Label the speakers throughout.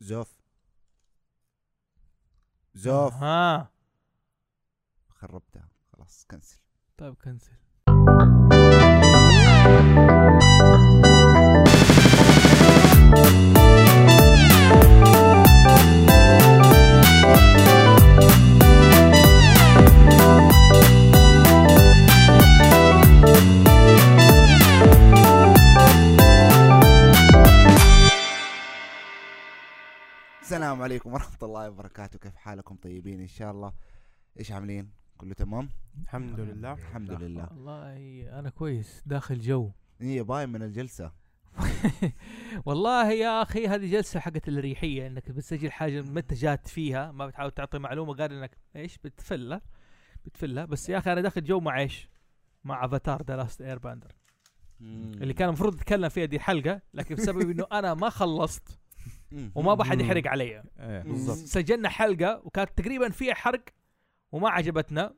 Speaker 1: زوف زوف
Speaker 2: آه. ها
Speaker 1: خربتها خلاص كنسل
Speaker 2: طيب كنسل
Speaker 1: السلام عليكم ورحمة الله وبركاته كيف حالكم طيبين إن شاء الله إيش عاملين كله تمام
Speaker 3: الحمد لله
Speaker 1: الحمد لله
Speaker 2: والله انا كويس داخل جو
Speaker 1: هي باين من الجلسة
Speaker 2: والله يا اخي هذه جلسه حقت الريحيه انك بتسجل حاجه متى جات فيها ما بتحاول تعطي معلومه غير انك ايش بتفلها بتفلها بس يا اخي انا داخل جو مع ايش؟ مع افاتار ذا لاست اير باندر اللي كان المفروض اتكلم فيها دي الحلقه لكن بسبب انه انا ما خلصت وما بحد يحرق علي
Speaker 3: إيه.
Speaker 1: بالضبط.
Speaker 2: سجلنا حلقه وكانت تقريبا فيها حرق وما عجبتنا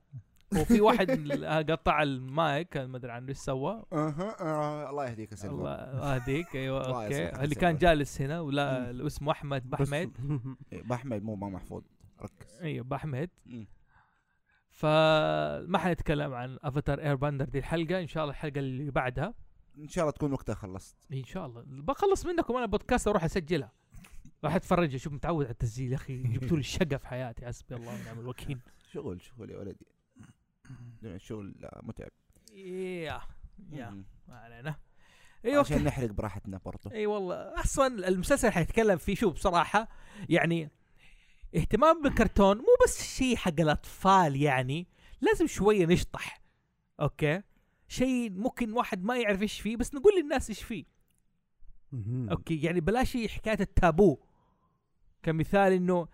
Speaker 2: وفي واحد قطع المايك ما ادري عنه ايش سوى
Speaker 1: أها، آه، الله يهديك يا
Speaker 2: الله
Speaker 1: سلمى
Speaker 2: هذيك ايوه
Speaker 1: الله يسلمك
Speaker 2: اوكي
Speaker 1: يا
Speaker 2: اللي كان
Speaker 1: سلمى.
Speaker 2: جالس هنا ولا اسمه احمد بحميد
Speaker 1: بحمد إيه، مو ما محفوظ ركز
Speaker 2: ايوه بحميد
Speaker 1: مم.
Speaker 2: فما حنتكلم عن افاتار اير باندر دي الحلقه ان شاء الله الحلقه اللي بعدها
Speaker 1: إن شاء الله تكون وقتها خلصت
Speaker 2: ان شاء الله بخلص منكم انا بودكاست اروح اسجلها راح اتفرج اشوف متعود على التسجيل يا اخي جبتوا لي الشقه في حياتي حسبي الله ونعم الوكيل
Speaker 1: شغل شغل يا ولدي شغل آه، متعب
Speaker 2: يا يا
Speaker 1: مم.
Speaker 2: ما علينا ايوه
Speaker 1: عشان نحرق براحتنا برضه
Speaker 2: اي والله اصلا المسلسل حيتكلم فيه شو بصراحه يعني اهتمام بالكرتون مو بس شيء حق الاطفال يعني لازم شويه نشطح اوكي شيء ممكن واحد ما يعرف ايش فيه بس نقول للناس ايش فيه اوكي يعني بلاش حكايه التابو كمثال انه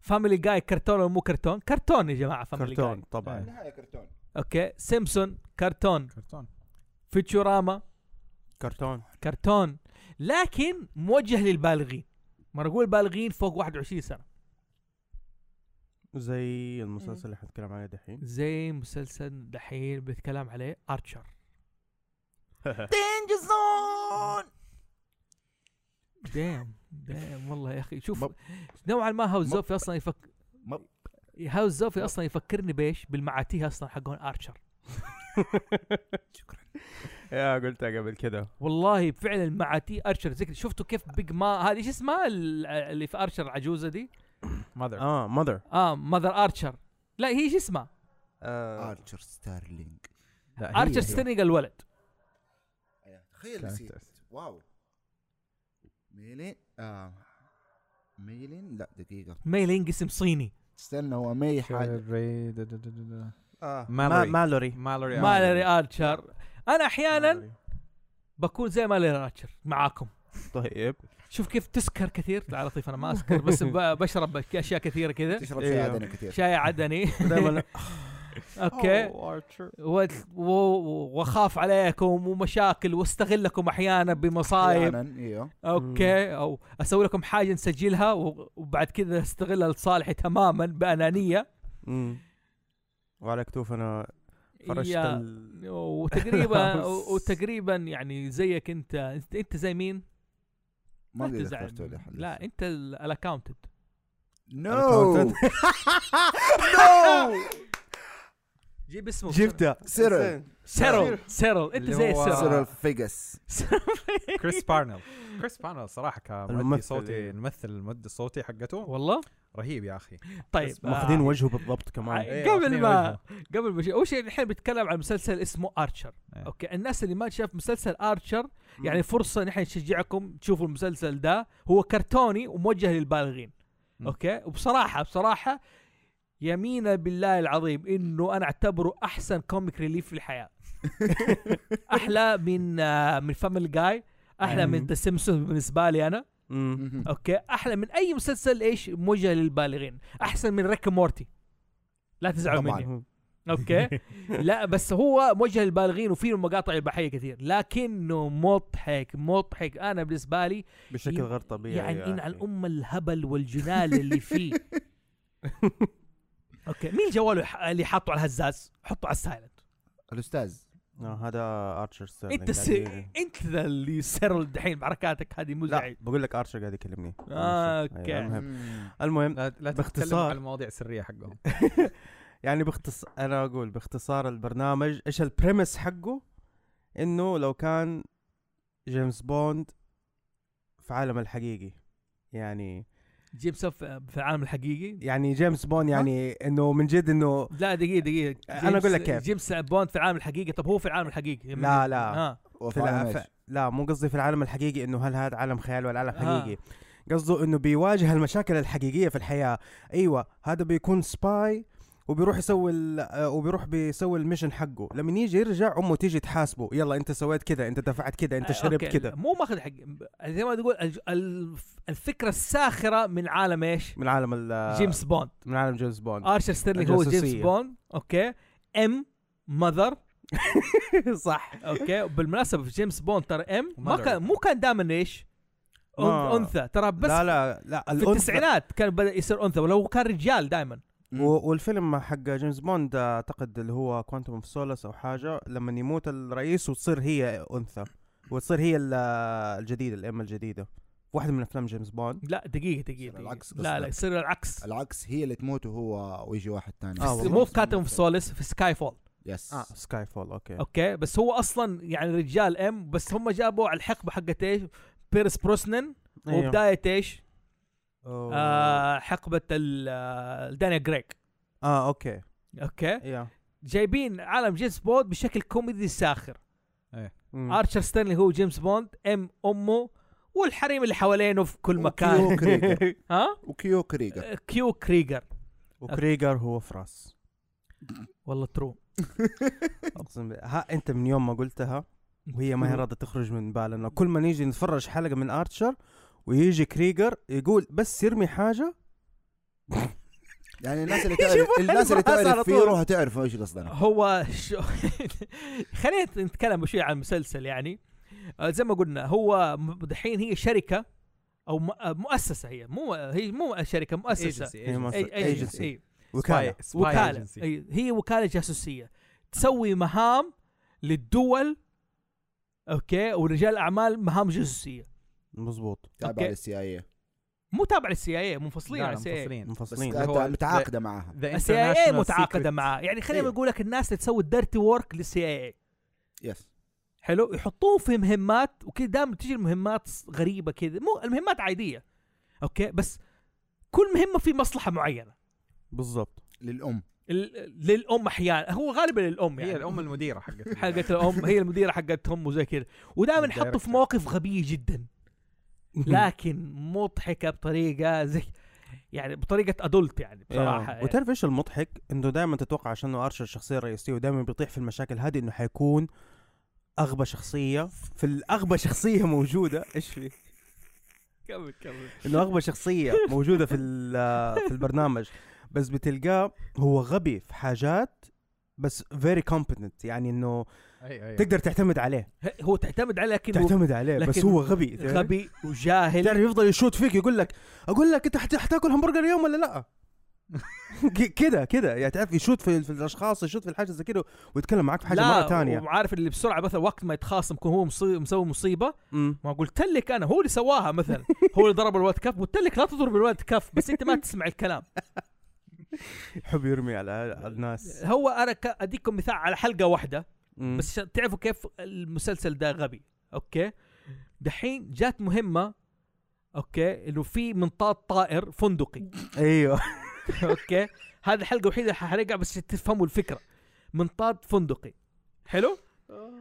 Speaker 2: فاميلي جاي كرتون ولا مو كرتون كرتون يا جماعه فاميلي
Speaker 3: كرتون
Speaker 2: جاي
Speaker 3: طبعا
Speaker 1: نهاية كرتون
Speaker 2: اوكي سيمسون كرتون
Speaker 3: كرتون
Speaker 2: فيتشوراما
Speaker 3: كرتون
Speaker 2: كرتون لكن موجه للبالغين ما أنا اقول بالغين فوق 21 سنه
Speaker 3: زي المسلسل اللي حنتكلم عليه دحين
Speaker 2: زي مسلسل دحين بنتكلم عليه ارشر
Speaker 1: دينجر زون
Speaker 2: دام دام والله يا اخي شوف
Speaker 1: مب-
Speaker 2: نوعا ما هاوس زوفي اصلا يفك
Speaker 1: مب-
Speaker 2: هاوس زوفي اصلا يفكرني بايش بالمعاتيه اصلا حقون ارشر
Speaker 3: يا قلتها قبل كده
Speaker 2: والله فعلا معاتيه ارشر ذكر شفتوا كيف بيج ما هذه ايش اسمها ال- اللي في ارشر العجوزه دي
Speaker 4: ماذر
Speaker 3: اه ماذر
Speaker 2: اه ماذر ارشر لا هي ايش اسمها آه.
Speaker 1: ارشر ستارلينج
Speaker 2: ارشر ستينج الولد
Speaker 1: آه، تخيل
Speaker 3: كانت
Speaker 1: نسيت
Speaker 3: تأس-
Speaker 1: واو ميلين آه. ميلين لا دقيقة
Speaker 2: ميلينج اسم صيني
Speaker 1: استنى هو مي حاجة
Speaker 3: آه.
Speaker 4: مالوري.
Speaker 3: مالوري
Speaker 4: مالوري
Speaker 2: مالري ارشر انا احيانا
Speaker 3: مالوري.
Speaker 2: بكون زي مالري ارشر معاكم
Speaker 3: طيب
Speaker 2: شوف كيف تسكر كثير لا لطيف انا ما اسكر بس ب- بشرب اشياء كثيره كذا
Speaker 1: تشرب
Speaker 3: إيه.
Speaker 1: شاي
Speaker 2: إيوه.
Speaker 1: عدني كثير
Speaker 2: شاي عدني
Speaker 3: دائما
Speaker 2: اوكي وت- و- و- واخاف عليكم ومشاكل واستغلكم احيانا بمصايب
Speaker 1: أحياناً، ايوه
Speaker 2: اوكي او اسوي لكم حاجه نسجلها و- وبعد كذا استغلها لصالحي تماما بانانيه
Speaker 3: وعلى كتوفنا فرشت
Speaker 2: يا-
Speaker 3: ال-
Speaker 2: وتقريبا و- وتقريبا يعني زيك انت انت, انت زي مين؟
Speaker 1: ما
Speaker 2: لا
Speaker 1: قد
Speaker 2: تزعل.
Speaker 1: ذكرته لي حد
Speaker 2: لا انت الاكونتنت
Speaker 1: نو
Speaker 3: أنا
Speaker 1: نو
Speaker 2: جيب اسمه
Speaker 3: جبتها
Speaker 1: سيرل.
Speaker 2: سيرل سيرل انت زي
Speaker 4: اللي هو-
Speaker 2: سيرل
Speaker 1: سيرل فيجاس
Speaker 4: كريس بارنل كريس بارنل صراحه كمؤدي
Speaker 3: الممثل.
Speaker 4: صوتي الممثل المؤدي الصوتي حقته
Speaker 2: والله
Speaker 4: رهيب يا اخي
Speaker 2: طيب
Speaker 4: بس
Speaker 3: ماخذين
Speaker 2: آه،
Speaker 3: وجهه بالضبط كمان
Speaker 4: إيه،
Speaker 2: قبل
Speaker 4: واخدين
Speaker 2: ما قبل ما شيء- اول شيء الحين بنتكلم عن مسلسل اسمه ارشر
Speaker 4: إيه.
Speaker 2: اوكي الناس اللي ما شاف مسلسل ارشر يعني فرصه نحن نشجعكم تشوفوا المسلسل ده هو كرتوني وموجه للبالغين
Speaker 4: مم.
Speaker 2: اوكي وبصراحه بصراحه يمينا بالله العظيم انه انا اعتبره احسن كوميك ريليف في الحياه احلى من آه، من فاميلي جاي احلى من
Speaker 3: مم.
Speaker 2: ذا سيمسون بالنسبه لي انا
Speaker 3: مم.
Speaker 2: اوكي احلى من اي مسلسل ايش موجه للبالغين احسن من ريك مورتي لا تزعلوا
Speaker 1: طبعاً.
Speaker 3: يعني
Speaker 2: مني اوكي لا بس هو موجه للبالغين وفيه مقاطع اباحيه كثير لكنه مضحك مضحك انا بالنسبه لي
Speaker 3: بشكل غير طبيعي
Speaker 2: يعني
Speaker 3: يا
Speaker 2: ان عن
Speaker 3: أخي.
Speaker 2: ام الهبل والجنال اللي فيه اوكي مين جواله ح- اللي حاطه على الهزاز حطه على السايلنت
Speaker 1: الاستاذ
Speaker 3: آه، هذا ارشر ستيرلينج
Speaker 2: انت س... انت ذا اللي سرل دحين بحركاتك هذه مزعج
Speaker 3: لا بقول لك ارشر قاعد يكلمني
Speaker 2: آه،
Speaker 3: أيوة،
Speaker 2: أوكي.
Speaker 3: المهم-
Speaker 1: مم.
Speaker 3: المهم
Speaker 4: لا, لا تتكلم
Speaker 3: باختصار.
Speaker 4: عن المواضيع السريه حقهم
Speaker 3: يعني باختصار انا اقول باختصار البرنامج ايش البريمس حقه انه لو كان جيمس بوند في عالم الحقيقي يعني
Speaker 2: جيمس في في العالم الحقيقي
Speaker 3: يعني جيمس بوند يعني انه من جد انه
Speaker 2: لا دقيقه دقيقه
Speaker 3: أنا
Speaker 2: جيمس-
Speaker 3: أقول لك كيف.
Speaker 2: جيمس بوند في العالم الحقيقي طب هو في العالم الحقيقي
Speaker 3: لا لا
Speaker 2: اه
Speaker 3: في
Speaker 1: وفي
Speaker 3: الع...
Speaker 1: العالم
Speaker 3: في...
Speaker 1: إيش؟
Speaker 3: لا مو قصدي في العالم الحقيقي انه هل هذا عالم خيال ولا عالم
Speaker 2: آه.
Speaker 3: حقيقي قصده انه بيواجه المشاكل الحقيقيه في الحياه ايوه هذا بيكون سباي وبيروح يسوي ال... آه، وبيروح بيسوي الميشن حقه لما يجي يرجع امه تيجي تحاسبه يلا انت سويت كذا انت دفعت كذا انت
Speaker 2: آه،
Speaker 3: شربت
Speaker 2: أوكي.
Speaker 3: كذا
Speaker 2: مو ماخذ حق زي ما تقول الج- الف- الفكره الساخره من عالم ايش؟
Speaker 3: من عالم ال...
Speaker 2: جيمس بوند
Speaker 3: من عالم جيمس بوند
Speaker 2: ارشر ستيرلينج هو جيمس
Speaker 3: آه. الجاسوسية.
Speaker 2: بوند اوكي ام مذر
Speaker 3: صح
Speaker 2: اوكي بالمناسبه في جيمس بوند ترى ام ما
Speaker 4: Mother.
Speaker 2: كان مو كان دائما ايش؟ أن-
Speaker 3: ما-
Speaker 2: انثى ترى بس
Speaker 3: لا لا لا
Speaker 2: في
Speaker 3: الأنثى-
Speaker 2: التسعينات كان بدا يصير انثى ولو كان رجال دائما
Speaker 1: مم.
Speaker 3: و- والفيلم حق جيمس بوند آه، اعتقد اللي هو كوانتوم اوف سولس او حاجه لما يموت الرئيس وتصير هي انثى وتصير هي ال- آه، الجديده الام الجديده واحده من افلام جيمس بوند
Speaker 2: لا دقيقه دقيقه, دقيقة.
Speaker 1: العكس
Speaker 2: لا لا
Speaker 1: قصدك.
Speaker 2: يصير العكس
Speaker 1: العكس هي اللي تموت وهو ويجي واحد ثاني
Speaker 3: آه، والله.
Speaker 2: مو في كاتم في آه. سوليس في سكاي فول
Speaker 1: يس
Speaker 3: اه سكاي فول اوكي
Speaker 2: اوكي بس هو اصلا يعني رجال ام بس هم جابوا على الحقبه حقت ايش؟ بيرس بروسنن
Speaker 3: أيوه.
Speaker 2: وبدايه ايش؟
Speaker 3: أوه. اه
Speaker 2: آه حقبه ال- آه، دانيال جريج
Speaker 3: اوكي
Speaker 2: اوكي
Speaker 3: يا
Speaker 2: جايبين عالم جيمس بوند بشكل كوميدي ساخر
Speaker 3: مم.
Speaker 2: ارشر ستانلي هو جيمس بوند ام امه والحريم اللي حوالينه في كل مكان
Speaker 1: وكيو كريجر
Speaker 2: ها
Speaker 1: وكيو كريجر
Speaker 2: آه، كيو كريجر
Speaker 3: وكريجر هو فراس
Speaker 2: والله ترو
Speaker 3: اقسم بالله ها انت من يوم ما قلتها وهي ما هي راضيه تخرج من بالنا كل ما نيجي نتفرج حلقه من ارشر ويجي كريجر يقول بس يرمي حاجه
Speaker 1: يعني الناس اللي تعرف
Speaker 3: يشوفوا
Speaker 1: الناس اللي
Speaker 3: البراس على
Speaker 1: تعرف
Speaker 3: طول.
Speaker 1: فيرو هتعرف ايش قصدنا
Speaker 2: هو شو خلينا نتكلم شوي عن المسلسل يعني آه، زي ما قلنا هو م- دحين هي شركه او م- آه، مؤسسه هي مو هي مو شركه مؤسسه
Speaker 3: agency.
Speaker 2: أي- agency.
Speaker 3: agency.
Speaker 2: أي.
Speaker 3: وكاله
Speaker 2: وكاله أي. هي وكاله جاسوسيه تسوي مهام للدول اوكي ورجال اعمال مهام جاسوسيه
Speaker 3: مظبوط
Speaker 1: تابع
Speaker 2: أوكي.
Speaker 1: للسي اي
Speaker 2: مو تابعه للسي اي منفصلين عن السي اي
Speaker 4: منفصلين
Speaker 1: بس
Speaker 3: منفصلين
Speaker 4: هو
Speaker 1: أنت متعاقده معاها
Speaker 2: السي اي متعاقده معاه يعني خلينا
Speaker 1: أيوه.
Speaker 2: نقول لك الناس اللي تسوي الديرتي وورك للسي اي
Speaker 1: يس
Speaker 2: حلو يحطوه في مهمات وكذا دائما تجي المهمات غريبه كذا مو المهمات عاديه اوكي بس كل مهمه في مصلحه معينه
Speaker 3: بالضبط
Speaker 1: للام
Speaker 2: ال- للام احيانا هو غالبا للام يعني
Speaker 4: هي الام المديره حقتهم
Speaker 2: حقت الام هي المديره حقتهم وزي كذا ودائما يحطوا في مواقف غبيه جدا لكن مضحكه بطريقه زي يعني بطريقه ادولت يعني بصراحه
Speaker 3: صراحه
Speaker 2: يعني.
Speaker 3: وتعرف ايش المضحك؟ انه دائما تتوقع عشان انه ارشر الشخصيه الرئيسيه ودائما بيطيح في المشاكل هذه انه حيكون اغبى شخصيه في الاغبى شخصيه موجوده ايش في؟
Speaker 2: كمل كمل
Speaker 3: انه اغبى شخصيه موجوده في ال- في البرنامج بس بتلقاه هو غبي في حاجات بس فيري كومبتنت يعني انه تقدر تعتمد عليه
Speaker 2: ه- هو تعتمد على لكن
Speaker 3: تعتمد عليه بس
Speaker 2: لكن
Speaker 3: هو غبي تعرف؟
Speaker 2: غبي وجاهل
Speaker 3: تعرف يفضل يشوت فيك يقول لك اقول لك انت حت- حتاكل همبرجر اليوم ولا لا؟ ك- كده كده يعني تعرف يشوت في, في الاشخاص يشوت في الحاجه زي كده ويتكلم معاك في حاجه
Speaker 2: لا،
Speaker 3: مره ثانيه
Speaker 2: وعارف اللي بسرعه مثلا وقت ما يتخاصم يكون هو مصي- مسوي مصيبه ما قلت لك انا هو اللي سواها مثلا هو اللي ضرب الواد كف قلت لك لا تضرب الواد كف بس انت ما تسمع الكلام
Speaker 3: يحب يرمي على على الناس
Speaker 2: هو انا ك- اديكم مثال على حلقه واحده
Speaker 3: مم.
Speaker 2: بس عشان تعرفوا كيف المسلسل ده غبي اوكي دحين جات مهمه اوكي انه في منطاد طائر فندقي
Speaker 3: ايوه
Speaker 2: اوكي هذه الحلقه الوحيده اللي حرقها بس عشان تفهموا الفكره منطاد فندقي حلو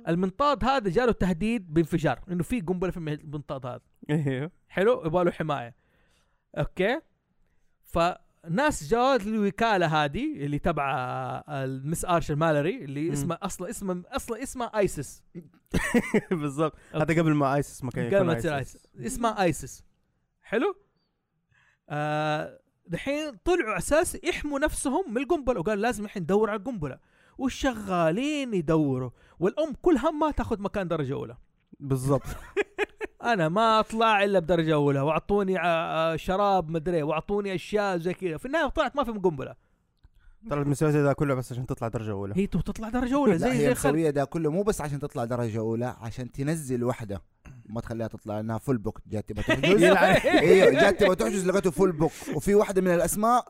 Speaker 2: المنطاد هذا جاله تهديد بانفجار انه في قنبله في المنطاد هذا
Speaker 3: ايوه
Speaker 2: حلو يبغى له حمايه اوكي فناس جات الوكاله هذه اللي تبع آه، المس ارشر مالري اللي
Speaker 3: مم.
Speaker 2: اسمه اصلا اسمه اصلا اسمه ايسس
Speaker 3: بالضبط هذا قبل ما ايسس ما كان
Speaker 2: قبل
Speaker 3: يكون
Speaker 2: ما تصير
Speaker 3: ايسس
Speaker 2: ايسس اسمه ايسس حلو آه، دحين طلعوا اساس يحموا نفسهم من القنبله وقال لازم احنا ندور على القنبله والشغالين يدوروا والام كل همها تاخذ مكان درجه اولى
Speaker 3: بالضبط
Speaker 2: انا ما اطلع الا بدرجه اولى واعطوني آه، آه، شراب مدري واعطوني اشياء زي كذا في النهايه طلعت ما في قنبله
Speaker 3: ترى المسلسل ده كله بس عشان تطلع درجه اولى
Speaker 2: هي تبغى تطلع درجه اولى
Speaker 1: لا
Speaker 2: زي
Speaker 1: هي
Speaker 2: زي خالد
Speaker 1: مسويه ده كله مو بس عشان تطلع درجه اولى عشان تنزل وحده ما تخليها تطلع انها فول بوك جات تبغى تحجز ايوه جات تبغى تحجز لقيته فول بوك وفي واحده من الاسماء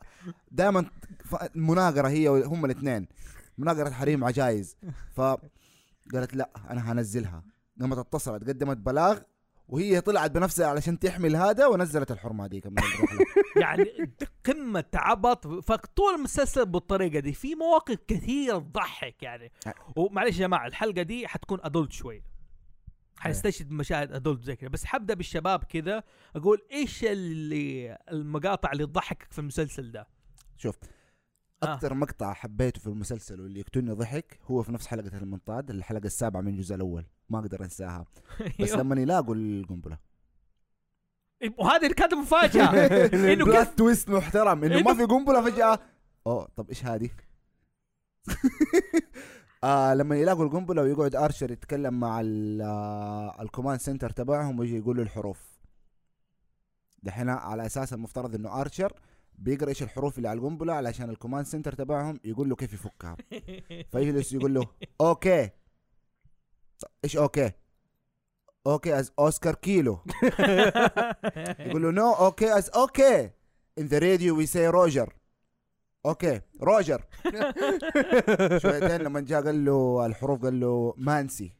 Speaker 1: دائما مناقره هي وال- هم الاثنين مناقره حريم عجايز ف قالت لا انا هنزلها لما اتصلت قدمت بلاغ وهي طلعت بنفسها علشان تحمل هذا ونزلت الحرمه هذيك من الرحله
Speaker 2: يعني قمه عبط فطول المسلسل بالطريقه دي في مواقف كثيره تضحك يعني ومعلش يا جماعه الحلقه دي حتكون ادولت شويه حنستشهد مشاهد ادولت زي كذا بس حبدا بالشباب كذا اقول ايش اللي المقاطع اللي تضحكك في المسلسل ده
Speaker 1: شوف اكثر مقطع حبيته في المسلسل واللي يقتلني ضحك هو في نفس حلقه المنطاد الحلقه السابعه من الجزء الاول ما اقدر انساها بس
Speaker 2: أيوه.
Speaker 1: لما يلاقوا القنبله
Speaker 2: وهذه اللي كانت مفاجاه انه كيف
Speaker 1: بلات تويست محترم انه ما
Speaker 2: إنه-
Speaker 1: في قنبله فجاه اوه طب ايش هذه آه لما يلاقوا القنبله ويقعد ارشر يتكلم مع ال- آه، الكوماند سنتر تبعهم ويجي يقول له الحروف دحين على اساس المفترض انه ارشر بيقرا ايش الحروف اللي على القنبله علشان الكوماند سنتر تبعهم يقول له كيف يفكها فيجلس يقول له اوكي طب ايش اوكي اوكي از اوسكار كيلو يقول له نو اوكي از اوكي ان ذا راديو وي سي روجر اوكي روجر شويتين لما جاء قال له الحروف قال له مانسي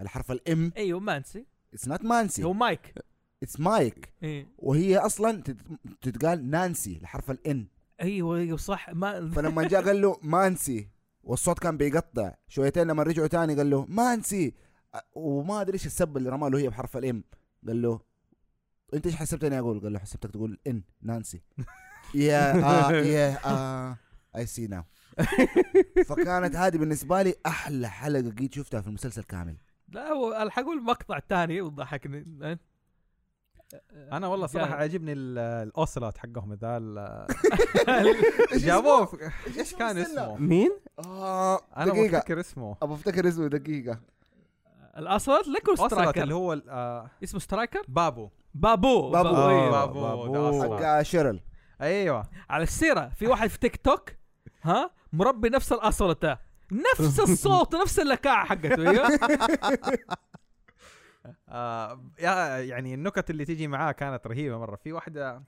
Speaker 1: الحرف الام
Speaker 2: ايوه مانسي
Speaker 1: اتس نوت
Speaker 2: هو
Speaker 1: مانسي
Speaker 2: مايك
Speaker 1: اتس مايك
Speaker 2: إيه.
Speaker 1: وهي اصلا تت- تتقال نانسي الحرف الان
Speaker 2: ايوه ايوه صح ما
Speaker 1: فلما جاء قال له مانسي والصوت كان بيقطع شويتين لما رجعوا تاني قال له مانسي أ- وما ادري ايش السب اللي رماله هي بحرف الام قال له انت ايش حسبتني اقول؟ قال له حسبتك تقول ان نانسي يا آه يا آه اي سي ناو فكانت هذه بالنسبه لي احلى حلقه قد شفتها في المسلسل كامل
Speaker 2: لا هو الحق مقطع تاني وضحكني
Speaker 4: انا والله صراحه
Speaker 2: جامد.
Speaker 4: عجبني ال- الاوسلوت حقهم ذا ال- جابوه في- ايش كان اسمه؟
Speaker 3: مين؟
Speaker 1: آه
Speaker 4: انا ما
Speaker 1: دقيقه
Speaker 4: افتكر اسمه
Speaker 1: ابغى افتكر اسمه دقيقه
Speaker 2: الاصوات لك
Speaker 4: اوسلوت اللي
Speaker 2: سترايكر
Speaker 4: هو ال- آه،
Speaker 2: اسمه سترايكر
Speaker 4: بابو
Speaker 2: بابو
Speaker 1: بابو.
Speaker 2: أيوه.
Speaker 1: آه.
Speaker 4: بابو
Speaker 3: بابو.
Speaker 4: ده أصلاً.
Speaker 1: حق شيرل
Speaker 4: ايوه
Speaker 2: على السيره في واحد في تيك توك ها مربي نفس الاصوات ده. نفس الصوت نفس اللكاعه حقته ايوه
Speaker 4: آه يا- يعني النكت اللي تيجي معاه كانت رهيبه مره في واحده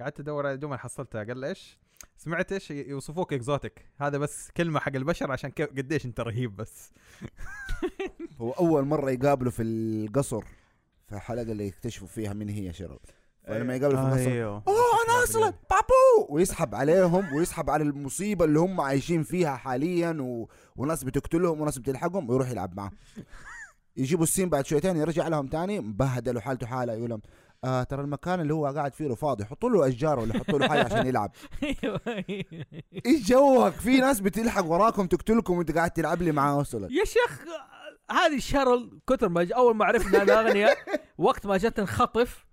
Speaker 4: قعدت ادور عليها دوما حصلتها قال لي ايش سمعت ايش ي- يوصفوك اكزوتيك هذا بس كلمه حق البشر عشان كيف قديش انت رهيب بس
Speaker 1: هو اول مره يقابله في القصر في الحلقه اللي يكتشفوا فيها مين هي شيرل فلما يقابله في القصر
Speaker 3: ايوه
Speaker 1: اوه انا اصلا بابو ويسحب عليهم ويسحب على المصيبه اللي هم عايشين فيها حاليا و... وناس بتقتلهم وناس بتلحقهم ويروح يلعب معاه يجيبوا السين بعد شويتين يرجع لهم تاني مبهدل وحالته حاله يقول لهم آه ترى المكان اللي هو قاعد فيه له فاضي حطوا له اشجار ولا حطوا له حاجه عشان يلعب
Speaker 2: إيوه،
Speaker 1: ايش جوك في ناس بتلحق وراكم تقتلكم وانت قاعد تلعب لي معاه اصلا
Speaker 2: يا شيخ هذه شارل كثر ما ج- اول ما عرفنا انها اغنياء وقت ما جت انخطف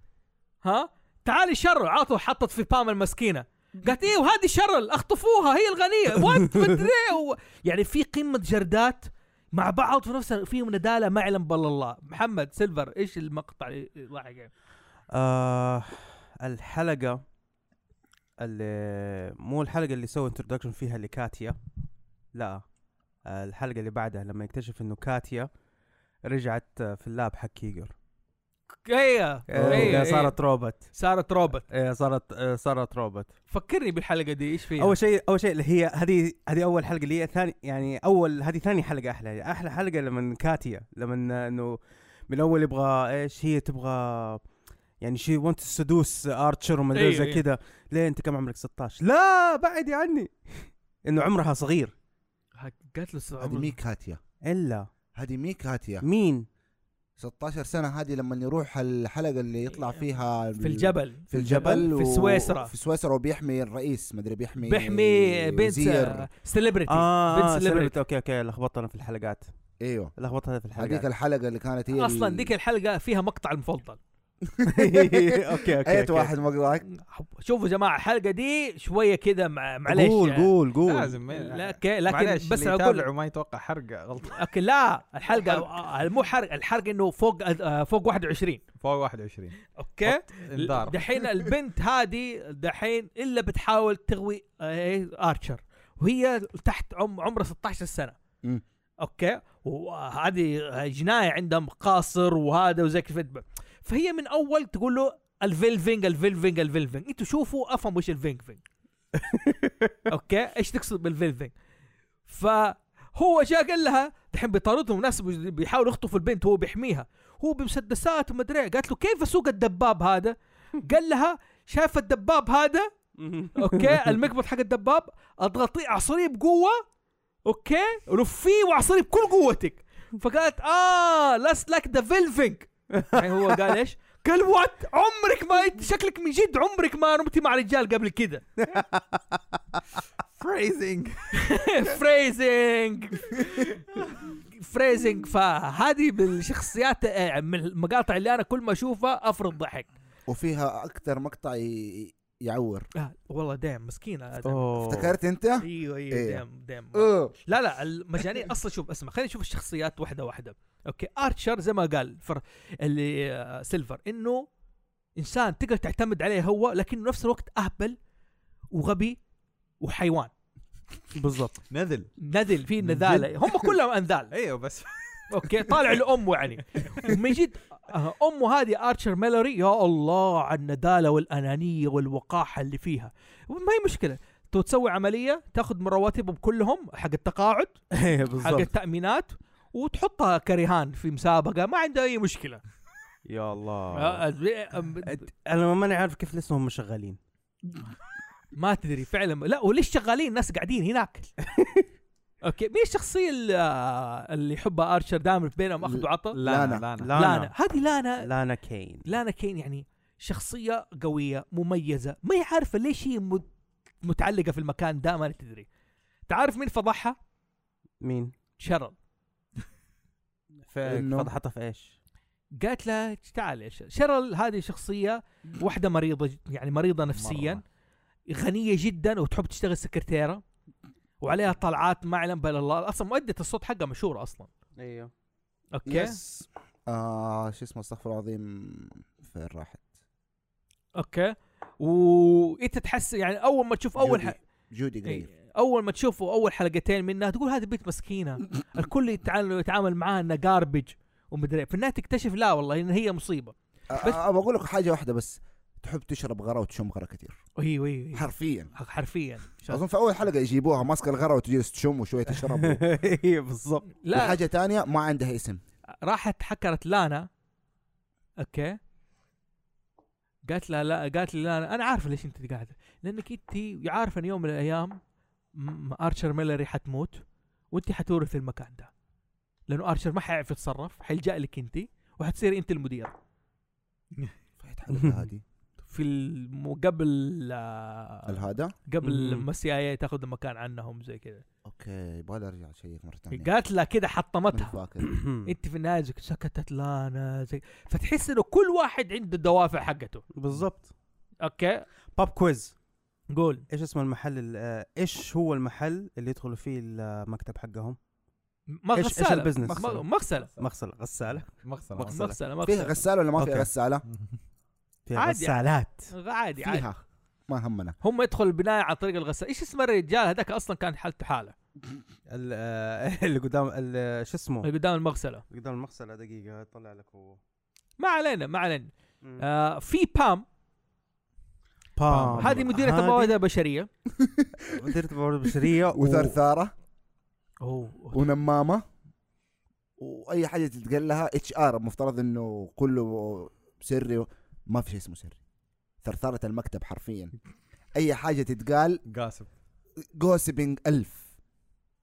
Speaker 2: ها تعالي شارل عاطوا حطت في بام المسكينه قالت ايه وهذه شارل اخطفوها هي الغنيه وات مدري إيه و- يعني في قمه جردات مع بعض في نفس فيهم نداله ما يعلم بالله الله محمد سيلفر ايش المقطع اللي ضحك يعني؟
Speaker 3: آه الحلقة اللي مو الحلقة اللي سووا انتروداكشن فيها لكاتيا لا آه، الحلقة اللي بعدها لما يكتشف انه كاتيا رجعت آه، في اللاب حق كيجر
Speaker 2: ايه
Speaker 3: آه،
Speaker 2: إيه، إيه.
Speaker 3: صارت روبوت
Speaker 2: صارت روبوت
Speaker 3: آه، صارت آه، صارت روبوت
Speaker 2: فكرني بالحلقه دي ايش فيها
Speaker 3: اول شيء اول شيء اللي هي هذه هذه اول حلقه اللي هي ثاني يعني اول هذه ثاني حلقه احلى احلى حلقه لما كاتيا لما انه من اول يبغى ايش هي تبغى يعني شي وانت سدوس ارشر وما ادري
Speaker 2: أيوة،
Speaker 3: زي
Speaker 2: أيوة.
Speaker 3: كذا ليه انت كم عمرك 16 لا بعدي عني انه عمرها صغير
Speaker 2: قالت له
Speaker 1: هذه مي كاتيا
Speaker 3: الا
Speaker 1: هذه مي كاتيا
Speaker 3: مين
Speaker 1: 16 سنه هذه لما يروح الحلقه اللي يطلع فيها
Speaker 2: في الجبل
Speaker 1: في الجبل
Speaker 2: في
Speaker 1: و-
Speaker 2: سويسرا.
Speaker 1: في سويسرا وبيحمي الرئيس مدري بيحمي
Speaker 2: بيحمي بنت
Speaker 1: وزير
Speaker 2: سيلبرتي
Speaker 3: اه
Speaker 2: بنت celebrity.
Speaker 3: سلبت اوكي اوكي لخبطت انا في الحلقات
Speaker 1: ايوه
Speaker 3: لخبطت أنا في
Speaker 1: هذيك
Speaker 3: الحلقات
Speaker 1: الحلقه اللي كانت هي
Speaker 2: اصلا
Speaker 1: ال-
Speaker 2: ديك الحلقه فيها مقطع المفضل
Speaker 3: اوكي اوكي
Speaker 1: ايت
Speaker 3: أوكي.
Speaker 1: واحد مقطعك
Speaker 2: شوفوا يا جماعه الحلقه دي شويه كده مع- معليش
Speaker 3: قول قول قول
Speaker 4: لازم ما-
Speaker 2: لا ك- لكن
Speaker 4: معلش،
Speaker 2: بس
Speaker 4: اللي
Speaker 2: اقول
Speaker 4: يتابع وما يتوقع حرقه غلط
Speaker 2: لكن لا الحلقه مو حرق الحرق انه فوق آه، فوق 21
Speaker 4: فوق 21
Speaker 2: اوكي
Speaker 4: انذار
Speaker 2: دحين البنت هذه دحين الا بتحاول تغوي آه، إيه، ارشر وهي تحت عم عمرها 16 سنه
Speaker 1: مم.
Speaker 2: اوكي وهذه جنايه عندهم قاصر وهذا وزي كيف فهي من اول تقول له الفيلفينج الفيلفينج الفيلفينج انتوا شوفوا افهموا ايش الفيلفينج اوكي ايش تقصد بالفيلفينج فهو جاء قال لها دحين بيطاردهم ناس بي- بيحاولوا يخطفوا البنت هو بيحميها هو بمسدسات ومدري إيه. قالت له كيف اسوق الدباب هذا قال لها شاف الدباب هذا اوكي المقبض حق الدباب اضغطيه اعصريه بقوه اوكي لفيه واعصريه بكل قوتك فقالت اه لاست لايك ذا فيلفينج يعني هو قال ايش؟ قال وات عمرك ما انت شكلك من جد عمرك ما نمتي مع رجال قبل كده
Speaker 4: فريزنج
Speaker 2: فريزنج فريزنج فهذه بالشخصيات آه، من المقاطع اللي انا كل ما اشوفها افرض ضحك
Speaker 1: وفيها اكثر مقطع ي- يعور
Speaker 2: آه والله دام مسكينه دام.
Speaker 3: افتكرت
Speaker 1: افتكرت انت؟
Speaker 2: ايوه ايوه
Speaker 1: إيه.
Speaker 2: دام دام
Speaker 1: أوه.
Speaker 2: لا لا المجانين اصلا شوف اسمع خلينا نشوف الشخصيات واحده واحده اوكي ارشر زي ما قال فر اللي آه، سيلفر انه انسان تقدر تعتمد عليه هو لكنه نفس الوقت اهبل وغبي وحيوان
Speaker 3: بالضبط
Speaker 4: نذل
Speaker 2: نذل في
Speaker 4: من جد.
Speaker 2: نذاله هم كلهم انذال
Speaker 4: ايوه بس
Speaker 2: اوكي طالع لامه يعني من جد آه، امه هذه ارشر ميلوري يا الله على النداله والانانيه والوقاحه اللي فيها ما هي مشكله تو تسوي عمليه تاخذ من رواتبهم كلهم حق التقاعد
Speaker 3: ايه
Speaker 2: حق
Speaker 3: بالضبط
Speaker 2: التامينات وتحطها كرهان في مسابقه ما عنده اي مشكله
Speaker 3: يا الله
Speaker 2: آه، آه، آه،
Speaker 3: انا ماني عارف كيف لسهم شغالين
Speaker 2: ما تدري فعلا لا وليش شغالين الناس قاعدين هناك اوكي مين الشخصيه اللي- آه، اللي يحبها ارشر دائما بينهم اخذ وعطاء
Speaker 1: لانا.
Speaker 4: لانا
Speaker 2: لانا أه. هذه لانا
Speaker 3: لانا كين
Speaker 2: لانا كين يعني شخصية قوية مميزة ما هي عارفة ليش هي مت- متعلقة في المكان ده ما تدري تعرف مين فضحها؟
Speaker 3: مين؟
Speaker 2: شرل
Speaker 1: إنه-
Speaker 3: فضحتها في ايش؟
Speaker 2: قالت لها تعال يا شرل شرل هذه شخصية واحدة مريضة ج- يعني مريضة نفسيا
Speaker 4: مرة.
Speaker 2: غنية جدا وتحب تشتغل سكرتيرة وعليها طلعات ما يعلم بها إلا الله اصلا مؤدة الصوت حقها مشهورة اصلا
Speaker 3: ايوه
Speaker 2: اوكي
Speaker 1: يس آه شو اسمه استغفر الله العظيم فين راحت؟
Speaker 2: اوكي وانت تحس يعني اول ما تشوف اول
Speaker 1: جودي.
Speaker 2: ح...
Speaker 1: جودي
Speaker 2: إيه،
Speaker 1: جرير
Speaker 2: اول ما تشوفوا اول حلقتين منها تقول هذه بنت مسكينه الكل يتعامل يتعامل معاها انها جاربج ومدري إيه. في النهايه تكتشف لا والله ان هي مصيبه
Speaker 1: آه،
Speaker 2: بس-
Speaker 1: آه، ابغى اقول لك حاجه واحده بس تحب تشرب غرة وتشم غرة كثير
Speaker 2: ايوه ايوه أيوه.
Speaker 1: حرفيا
Speaker 2: حرفيا شاطر.
Speaker 1: اظن في اول حلقه يجيبوها ماسكه الغرة وتجلس تشم وشويه تشرب
Speaker 3: ايوه بالضبط
Speaker 2: لا
Speaker 1: وحاجه ثانيه ما عندها اسم
Speaker 2: راحت حكرت لانا اوكي قالت لها لا قالت لي لانا انا عارفه ليش انت قاعده لانك انت عارفه ان يوم من الايام م- ارشر ميلري حتموت وانت حتورث المكان ده لانه ارشر ما حيعرف يتصرف حيلجا لك انت وحتصيري انت المدير
Speaker 1: فايت حلقه هذه
Speaker 2: في الم... قبل آه،
Speaker 1: الهذا
Speaker 2: قبل
Speaker 3: مم.
Speaker 2: لما السي اي تاخذ المكان عنهم زي كذا
Speaker 1: اوكي يبغى ارجع اشيك مره ثانيه
Speaker 2: قالت لها كذا
Speaker 1: ماني
Speaker 2: حطمتها
Speaker 1: فاكر
Speaker 2: انت في النهايه زي- سكتت لا انا زي فتحس انه كل واحد عنده الدوافع حقته
Speaker 3: بالضبط
Speaker 2: اوكي
Speaker 3: باب كويز
Speaker 2: قول
Speaker 3: ايش اسم المحل ال- آه، ايش هو المحل اللي يدخلوا فيه المكتب حقهم؟
Speaker 2: ما
Speaker 3: إيش- إيش
Speaker 2: غساله
Speaker 3: البزنس؟
Speaker 2: مغ- مغسله
Speaker 3: مغسله غساله
Speaker 4: مغسله
Speaker 3: مغسلة.
Speaker 2: مغسله
Speaker 1: فيها
Speaker 2: مغسله
Speaker 1: غساله ولا ما فيها
Speaker 3: أوكي.
Speaker 1: غساله؟
Speaker 3: فيها
Speaker 2: عادي.
Speaker 3: غسالات
Speaker 2: عادي عادي
Speaker 1: فيها ما همنا
Speaker 2: هم يدخل البنايه عن طريق الغساله ايش اسم الرجال هذاك اصلا كان حالته حاله
Speaker 3: ال- آه، اللي قدام ال- آه، شو اسمه؟
Speaker 2: اللي قدام المغسله
Speaker 3: اللي قدام المغسله دقيقه طلع لك هو
Speaker 2: ما علينا ما علينا
Speaker 3: مم.
Speaker 2: آه في بام
Speaker 3: بام
Speaker 2: هذه مديره
Speaker 3: هذه
Speaker 2: الموارد البشريه
Speaker 3: مديرة الموارد البشريه و-
Speaker 1: وثرثاره
Speaker 2: اوه
Speaker 1: ونمامه واي حاجه تتقال لها اتش ار المفترض انه كله سري ما في شيء اسمه سري ثرثاره المكتب حرفيا اي حاجه تتقال
Speaker 4: قاسب
Speaker 1: جوسبينج ألف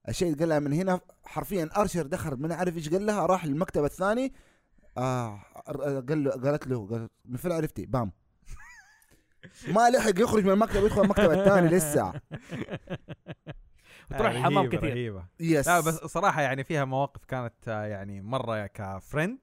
Speaker 1: الشيء اللي قالها من هنا حرفيا ارشر دخل ما عارف ايش قال لها راح للمكتب الثاني آه قال له قالت له قالت من فين عرفتي بام ما لحق يخرج من المكتب يدخل المكتب الثاني لسه
Speaker 2: وتروح
Speaker 4: آه،
Speaker 2: الحمام
Speaker 4: رهيبة،
Speaker 2: كثير.
Speaker 4: رهيبه
Speaker 1: يس
Speaker 4: لا بس صراحه يعني فيها مواقف كانت آه، يعني مره كفريند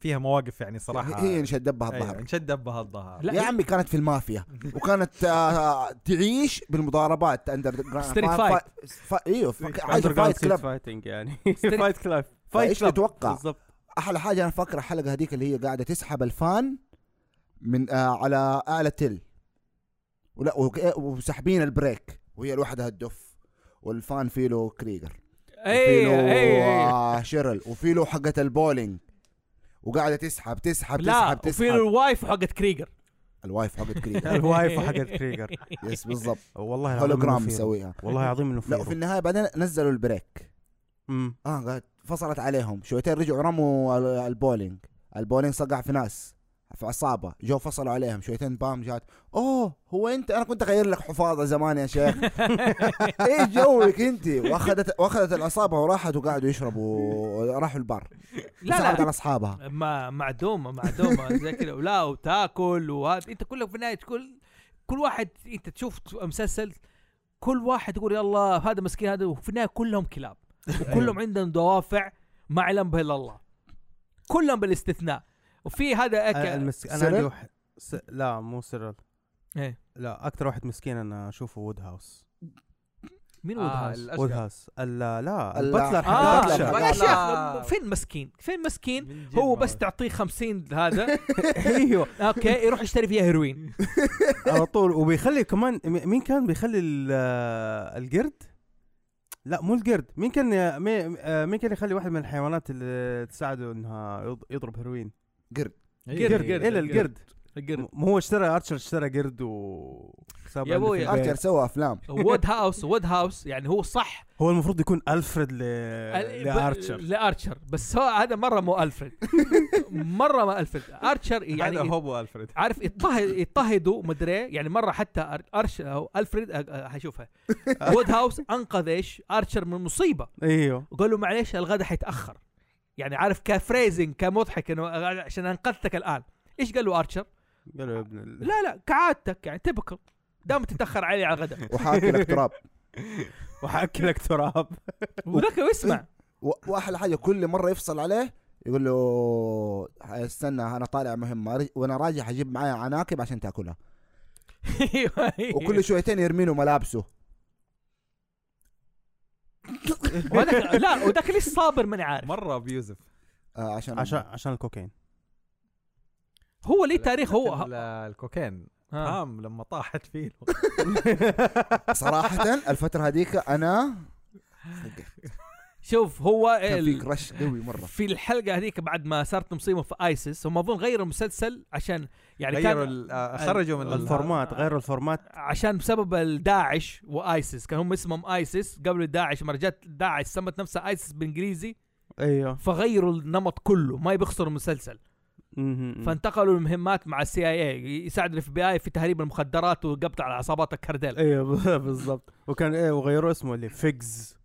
Speaker 4: فيها مواقف يعني صراحه
Speaker 1: هي انشد بها
Speaker 4: أيوة،
Speaker 1: الظهر
Speaker 4: انشد بها الظهر
Speaker 2: لا
Speaker 1: يا عمي كانت في المافيا وكانت آه تعيش بالمضاربات اندر
Speaker 2: Street fight.
Speaker 1: فا... ايوه فا... حاجه
Speaker 3: Underground
Speaker 1: فايت
Speaker 3: Street
Speaker 1: كلاب
Speaker 3: Fighting يعني
Speaker 2: Street-
Speaker 3: فايت كلاب
Speaker 1: فايش تتوقع
Speaker 3: بالضبط
Speaker 1: احلى حاجه انا فاكر الحلقه هذيك اللي هي قاعده تسحب الفان من آه على اعلى تل ولا وك- وساحبين البريك وهي لوحدها تدف والفان في له كريجر وفي
Speaker 2: اي
Speaker 1: له
Speaker 2: اي اي.
Speaker 1: آه، شيرل وفي له حقه البولينج وقاعده تسحب تسحب
Speaker 2: لا
Speaker 1: تسحب
Speaker 2: وفي
Speaker 1: تسحب
Speaker 2: الوايف حقت كريجر
Speaker 1: الوايف حقت كريجر
Speaker 3: الوايف حقت كريجر
Speaker 1: يس بالضبط
Speaker 3: والله العظيم
Speaker 1: هولوجرام
Speaker 3: إنه فيه.
Speaker 1: مسويها
Speaker 3: والله العظيم انه
Speaker 1: لا وفي
Speaker 3: فيه
Speaker 1: النهايه بعدين نزلوا البريك
Speaker 3: أمم.
Speaker 1: اه قاعد فصلت عليهم شويتين رجعوا رموا ال- البولينج البولينج صقع في ناس في عصابه جو فصلوا عليهم شويتين بام جات اوه هو انت انا كنت اغير لك حفاظه زمان يا شيخ ايه جوك انت واخذت واخذت العصابه وراحت وقعدوا يشربوا راحوا البار
Speaker 2: لا
Speaker 1: صعدت
Speaker 2: لا
Speaker 1: على اصحابها
Speaker 2: ما معدومه معدومه زي كذا ولا وتاكل وهذا انت كلك في النهايه تقول كل واحد انت تشوف مسلسل كل واحد يقول يلا هذا مسكين هذا وفي النهايه كلهم كلاب وكلهم عندهم دوافع ما يعلم بها الا الله كلهم بالاستثناء وفي هذا
Speaker 4: آه،
Speaker 3: أنا
Speaker 2: أك...
Speaker 3: المس... انا
Speaker 1: سيرل؟
Speaker 3: عندي واحد س... لا مو سيرل
Speaker 2: إيه.
Speaker 3: لا اكثر واحد مسكين انا اشوفه وود هاوس
Speaker 2: مين وود
Speaker 4: آه،
Speaker 2: هاوس؟
Speaker 3: وود
Speaker 4: الأشقى.
Speaker 3: هاوس ال- لا
Speaker 1: ال- آه،
Speaker 3: البتلر حق
Speaker 2: اه
Speaker 1: البتلر
Speaker 3: داتشر.
Speaker 1: حق-
Speaker 2: يا
Speaker 4: لا.
Speaker 2: شيخ فين مسكين؟ فين مسكين؟
Speaker 4: من جد
Speaker 2: هو
Speaker 4: مرة.
Speaker 2: بس تعطيه 50 هذا
Speaker 3: ايوه
Speaker 2: اوكي يروح يشتري فيها هيروين
Speaker 3: على طول وبيخلي كمان م- مين كان بيخلي ال- آه، القرد لا مو القرد مين كان آه، مي- آه، مين كان يخلي واحد من الحيوانات اللي تساعده انها يض- يضرب هيروين
Speaker 4: إيه.
Speaker 2: قرد، قرد.
Speaker 3: الا القرد
Speaker 2: القرد.
Speaker 3: م- هو اشترى ارشر اشترى قرد و ساب
Speaker 2: يا
Speaker 3: اللي في
Speaker 2: أبوي،
Speaker 3: البيت.
Speaker 1: ارشر سوى افلام
Speaker 2: وود هاوس وود هاوس يعني هو صح
Speaker 3: هو المفروض يكون الفريد ل...
Speaker 2: ال- ب-
Speaker 3: لارشر
Speaker 2: لارشر بس هو هذا مره مو الفريد مره ما الفريد ارشر يعني
Speaker 4: هذا هوبو الفريد
Speaker 2: عارف يضطهد يضطهدوا مدري إيه. يعني مره حتى أر- ارشر او الفريد أ- أ- حشوفها وود هاوس انقذ ايش ارشر من مصيبه
Speaker 3: ايوه
Speaker 2: وقال له معليش الغداء حيتاخر يعني عارف كفريزنج كمضحك انه أ- عشان انقذتك الان ايش قال له ارشر؟
Speaker 3: قالوا يا ابن ال...
Speaker 2: لا لا كعادتك يعني تبكر دام تتاخر علي على الغداء
Speaker 1: وحاكلك تراب
Speaker 3: وحاكلك تراب
Speaker 2: وذاك يسمع
Speaker 1: و- واحلى حاجه كل مره يفصل عليه يقول له استنى انا طالع مهمه أرج- وانا راجع حجيب معايا عناكب عشان تاكلها
Speaker 2: أيوة، أيوة.
Speaker 1: وكل شويتين يرمي له ملابسه
Speaker 2: وهذاك- لا وذاك ليش صابر ماني عارف
Speaker 4: مره ابيوزف
Speaker 1: آه عشان
Speaker 3: عشان عشان الكوكاين
Speaker 2: هو ليه تاريخ هو آه.
Speaker 4: الكوكين
Speaker 2: ها.
Speaker 4: هام لما طاحت فيه
Speaker 1: صراحه الفتره هذيك انا
Speaker 2: شوف هو
Speaker 1: كان
Speaker 2: ال-
Speaker 1: في كراش قوي مره
Speaker 2: في الحلقه هذيك بعد ما صارت مصيبه في ايسس هم اظن غيروا المسلسل عشان يعني
Speaker 4: غيروا
Speaker 2: كان
Speaker 4: ال- آه، خرجوا من ال- آه،
Speaker 3: الفورمات غير الفورمات
Speaker 2: عشان بسبب الداعش وايسس كان هم اسمهم ايسس قبل داعش مرة جت داعش سمت نفسها ايسس بالانجليزي
Speaker 3: ايوه
Speaker 2: فغيروا النمط كله ما يبخسروا المسلسل
Speaker 3: مهم.
Speaker 2: فانتقلوا المهمات مع السي اي اي يساعد الاف بي اي في تهريب المخدرات وقبض على عصابات الكرديل
Speaker 3: ايوه بالضبط وكان ايه وغيروا اسمه اللي فيجز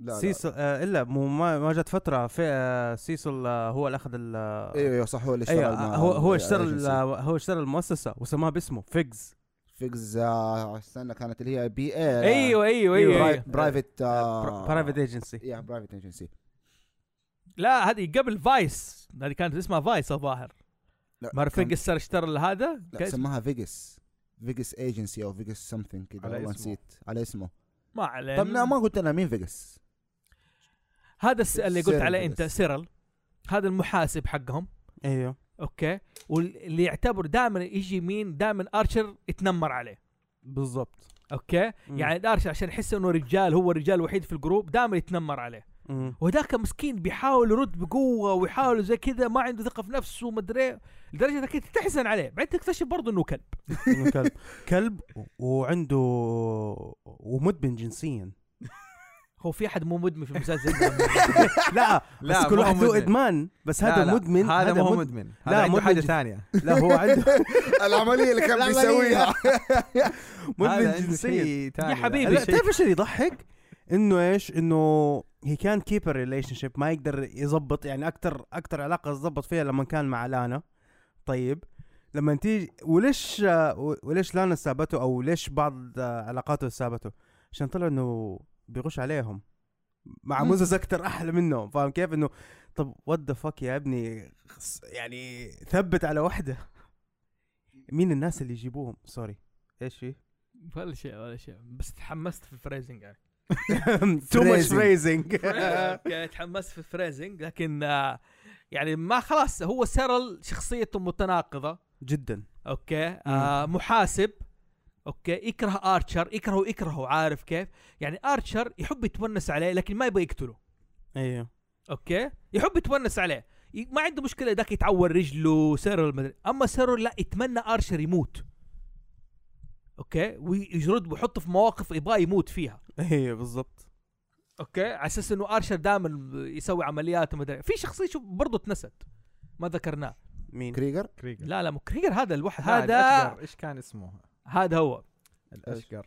Speaker 1: لا لا.
Speaker 3: سيسل آه الا مو ما, ما جت فتره في آه سيسل آه هو اللي اخذ ال
Speaker 1: ايوه
Speaker 2: إيوه،
Speaker 1: ايوه صح هو اللي اشتغل
Speaker 3: ايوه
Speaker 1: مع
Speaker 3: آه، هو هو اشترى ال-
Speaker 1: الأجنسي.
Speaker 3: هو اشترى المؤسسه وسماها باسمه فيجز
Speaker 1: فيجز آه، استنى كانت اللي هي بي إيه. اي
Speaker 2: ايوه ايوه ايوه, أيوة.
Speaker 1: برايفت
Speaker 2: آه.
Speaker 3: برايفت ايجنسي
Speaker 1: يا برايفت ايجنسي
Speaker 2: لا هذه قبل فايس هذه كانت اسمها فايس الظاهر مارفيج السر اشترى هذا
Speaker 1: لا سماها فيجس فيجس ايجنسي او فيجس سمثينج كذا
Speaker 4: على
Speaker 1: والله
Speaker 4: اسمه.
Speaker 1: نسيت على اسمه
Speaker 2: ما علينا
Speaker 1: طب نعم. لا ما قلت لنا مين فيجس
Speaker 2: هذا الس- اللي قلت
Speaker 1: سيرل
Speaker 2: عليه انت
Speaker 1: بس.
Speaker 2: سيرل هذا المحاسب حقهم
Speaker 3: ايوه
Speaker 2: اوكي واللي يعتبر دائما يجي مين دائما ارشر يتنمر عليه
Speaker 3: بالضبط
Speaker 2: اوكي
Speaker 3: مم.
Speaker 2: يعني ارشر عشان يحس انه رجال هو الرجال الوحيد في الجروب دائما يتنمر عليه
Speaker 3: مم.
Speaker 2: وهذاك مسكين بيحاول يرد بقوه ويحاول زي كذا ما عنده ثقه في نفسه ومدري إيه، لدرجه انك أنت تحزن عليه بعدين تكتشف برضه انه كلب
Speaker 3: إنه كلب كلب وعنده ومدمن جنسيا
Speaker 2: هو في احد مو مدمن في المسلسل
Speaker 3: لا
Speaker 4: لا،
Speaker 3: بس كل
Speaker 4: ما
Speaker 3: واحد
Speaker 4: هو
Speaker 3: له
Speaker 4: مدمن.
Speaker 3: ادمان بس
Speaker 4: لا،
Speaker 3: هذا
Speaker 4: لا،
Speaker 3: مدمن
Speaker 4: هذا ما هو
Speaker 3: مد-
Speaker 4: مدمن
Speaker 3: لا،
Speaker 4: هذا عنده
Speaker 3: مدمن
Speaker 4: حاجه
Speaker 3: جدا.
Speaker 4: ثانيه
Speaker 3: لا هو عنده
Speaker 1: العمليه اللي كان
Speaker 3: العملية.
Speaker 1: بيسويها
Speaker 3: مدمن جنسيا
Speaker 2: يا حبيبي.
Speaker 3: لا تعرف ايش اللي يضحك؟ انه ايش؟ انه هي كان كيب ريليشن شيب ما يقدر يظبط يعني اكثر اكثر علاقه ظبط فيها لما كان مع لانا طيب لما تيجي وليش آه، و- وليش لانا سابته او ليش بعض آه، علاقاته سابته؟ عشان طلع انه بيغش عليهم مع
Speaker 1: مم.
Speaker 3: مزز اكثر احلى منهم فاهم كيف؟ انه طب وات ذا فك يا ابني خص- يعني ثبت على واحده مين الناس اللي يجيبوهم؟ سوري ايش في؟
Speaker 2: ولا شيء ولا شيء بس تحمست في الفريزنج يعني
Speaker 3: تو ماتش
Speaker 1: Phrasing.
Speaker 3: فريزنج
Speaker 2: يعني تحمست في الفريزنج لكن آه، يعني ما خلاص هو سيرل شخصيته متناقضه
Speaker 3: جدا
Speaker 2: اوكي آه محاسب اوكي يكره ارشر يكرهه يكرهه عارف كيف يعني ارشر يحب يتونس عليه لكن ما يبغى يقتله
Speaker 3: ايوه
Speaker 2: اوكي يحب يتونس عليه ي- ما عنده مشكله ذاك يتعور رجله سيرو المدري اما سيرو لا يتمنى ارشر يموت اوكي ويجرد ويحطه في مواقف يبغى يموت فيها
Speaker 3: ايوه بالضبط
Speaker 2: اوكي على اساس انه ارشر دائما يسوي عمليات ومدري في شخصيه شوف برضه اتنست ما ذكرناه
Speaker 3: مين؟
Speaker 1: كريجر
Speaker 4: كريجر
Speaker 2: لا لا مو كريجر هذا الوحد
Speaker 4: لا،
Speaker 2: هذا
Speaker 4: الأشقر، ايش كان اسمه؟
Speaker 2: هذا هو
Speaker 4: الاشقر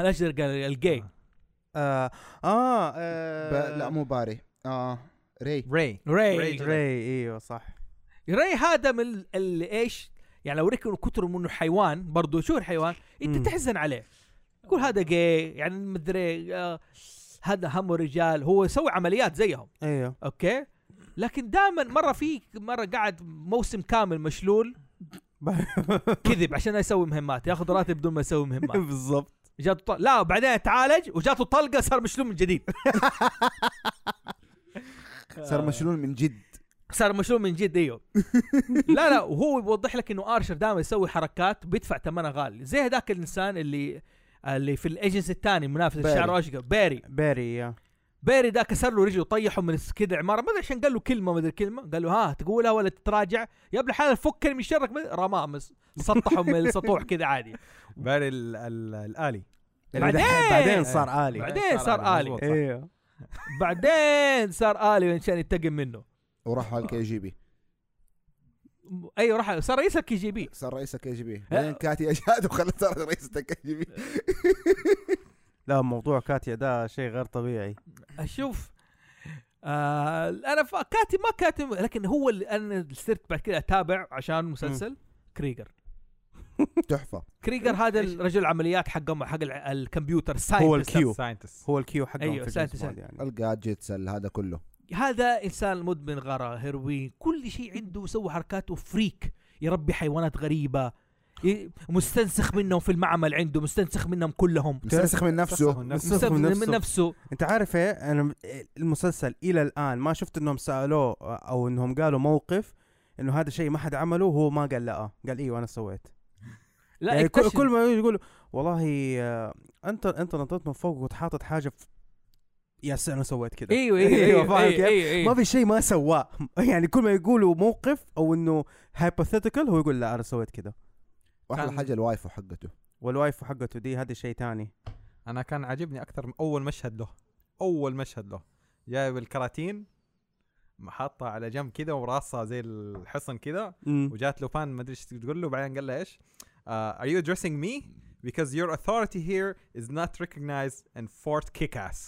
Speaker 2: الاشقر قال الجاي
Speaker 4: آه.
Speaker 3: اه اه,
Speaker 1: ب...
Speaker 3: آه
Speaker 1: لا مو باري اه ري
Speaker 4: ري
Speaker 2: ري
Speaker 3: ري ايوه صح
Speaker 2: ري هذا من ال- ال- ايش يعني لو ريك من كتر منه حيوان برضه شو الحيوان انت
Speaker 3: مم.
Speaker 2: تحزن عليه تقول هذا جاي يعني مدري آه، هذا همه رجال هو يسوي عمليات زيهم
Speaker 3: ايوه
Speaker 2: اوكي لكن دائما مره في مره قعد موسم كامل مشلول كذب عشان يسوي مهمات ياخذ راتب بدون ما يسوي مهمات
Speaker 3: بالضبط
Speaker 2: جاته طل... لا بعدين تعالج وجاته طلقه صار مشلول من جديد
Speaker 1: صار مشلول من جد
Speaker 2: صار مشروع من جد ايوه لا لا وهو يوضح لك انه ارشر دائما يسوي حركات بيدفع ثمنها غالي زي هذاك الانسان اللي اللي في الايجنسي الثاني منافس
Speaker 1: باري.
Speaker 2: الشعر اشقر باري
Speaker 3: باري يا
Speaker 2: باري ده كسر له رجله طيحه من الس- كده عماره ما ادري عشان قال له كلمه ما ادري كلمه قال له ها تقولها ولا تتراجع يا ابن الحلال فكر من شرك ما أدري- رماه مس- سطحه من السطوح كده عادي
Speaker 4: باري ال- ال- الالي
Speaker 2: بعدين-
Speaker 3: بعدين صار الي
Speaker 2: بعدين صار آلي.
Speaker 4: مظبوط، صح.
Speaker 3: ايوه
Speaker 2: بعدين صار الي عشان ينتقم منه
Speaker 1: وراح على الكي جي بي
Speaker 2: ايوه راح صار رئيس الكي جي بي
Speaker 1: صار رئيس الكي جي بي بعدين كاتي اجاد وخلت صار رئيس الكي جي بي
Speaker 3: لا موضوع كاتيا ده شيء غير طبيعي
Speaker 2: اشوف آه انا ف- كاتب ما كاتب لكن هو اللي انا صرت بعد كده اتابع عشان مسلسل كريجر
Speaker 1: تحفه
Speaker 2: كريجر هذا الرجل عمليات حقه حق ال- الكمبيوتر
Speaker 3: هو
Speaker 2: ساينتست
Speaker 3: الكيو
Speaker 4: ساينتست
Speaker 3: هو الكيو حقهم
Speaker 2: أيوة،
Speaker 3: في
Speaker 2: سألت-
Speaker 3: الجيمز بوند
Speaker 2: سألت.
Speaker 3: يعني
Speaker 1: الجادجتس ال- هذا كله
Speaker 2: هذا انسان مدمن غرا هيروين كل شيء عنده سوى حركاته فريك يربي حيوانات غريبه ي- مستنسخ منهم في المعمل عنده مستنسخ منهم كلهم
Speaker 1: مستنسخ من
Speaker 4: نفسه
Speaker 1: نفسه
Speaker 4: نفسه.
Speaker 2: مستنسخ
Speaker 3: مستنسخ من
Speaker 2: من
Speaker 3: نفسه.
Speaker 2: نفسه
Speaker 3: انت عارف ايه انا المسلسل الى الان ما شفت انهم سالوه او انهم قالوا موقف انه هذا شيء ما حد عمله وهو ما قال لا قال ايوه انا سويت
Speaker 2: لا
Speaker 3: يعني كل
Speaker 2: اكتشف.
Speaker 3: كل ما يقول والله آه، انت انت نطيت من فوق وتحاطط حاجه في يا سي انا سويت كذا
Speaker 2: ايوه ايوه ايوه
Speaker 3: أيوه، فاهم
Speaker 2: ايوه,
Speaker 3: كيف؟
Speaker 2: أيوة,
Speaker 3: ما
Speaker 2: أيوة.
Speaker 3: في شيء ما سواه يعني كل ما يقولوا موقف او انه هايبوثيتيكال هو يقول لا انا سويت كذا
Speaker 1: واحلى
Speaker 4: كان-
Speaker 1: حاجه الوايفو حقته
Speaker 3: والوايف حقته دي هذا شيء تاني
Speaker 4: انا كان عاجبني اكثر من اول مشهد له اول مشهد له جايب الكراتين حاطها على جنب كذا وراسها زي الحصن كذا وجات له فان ما ادري ايش تقول له بعدين قال له ايش؟ Uh, are you addressing me? Because your authority here is not recognized and Fort kick ass.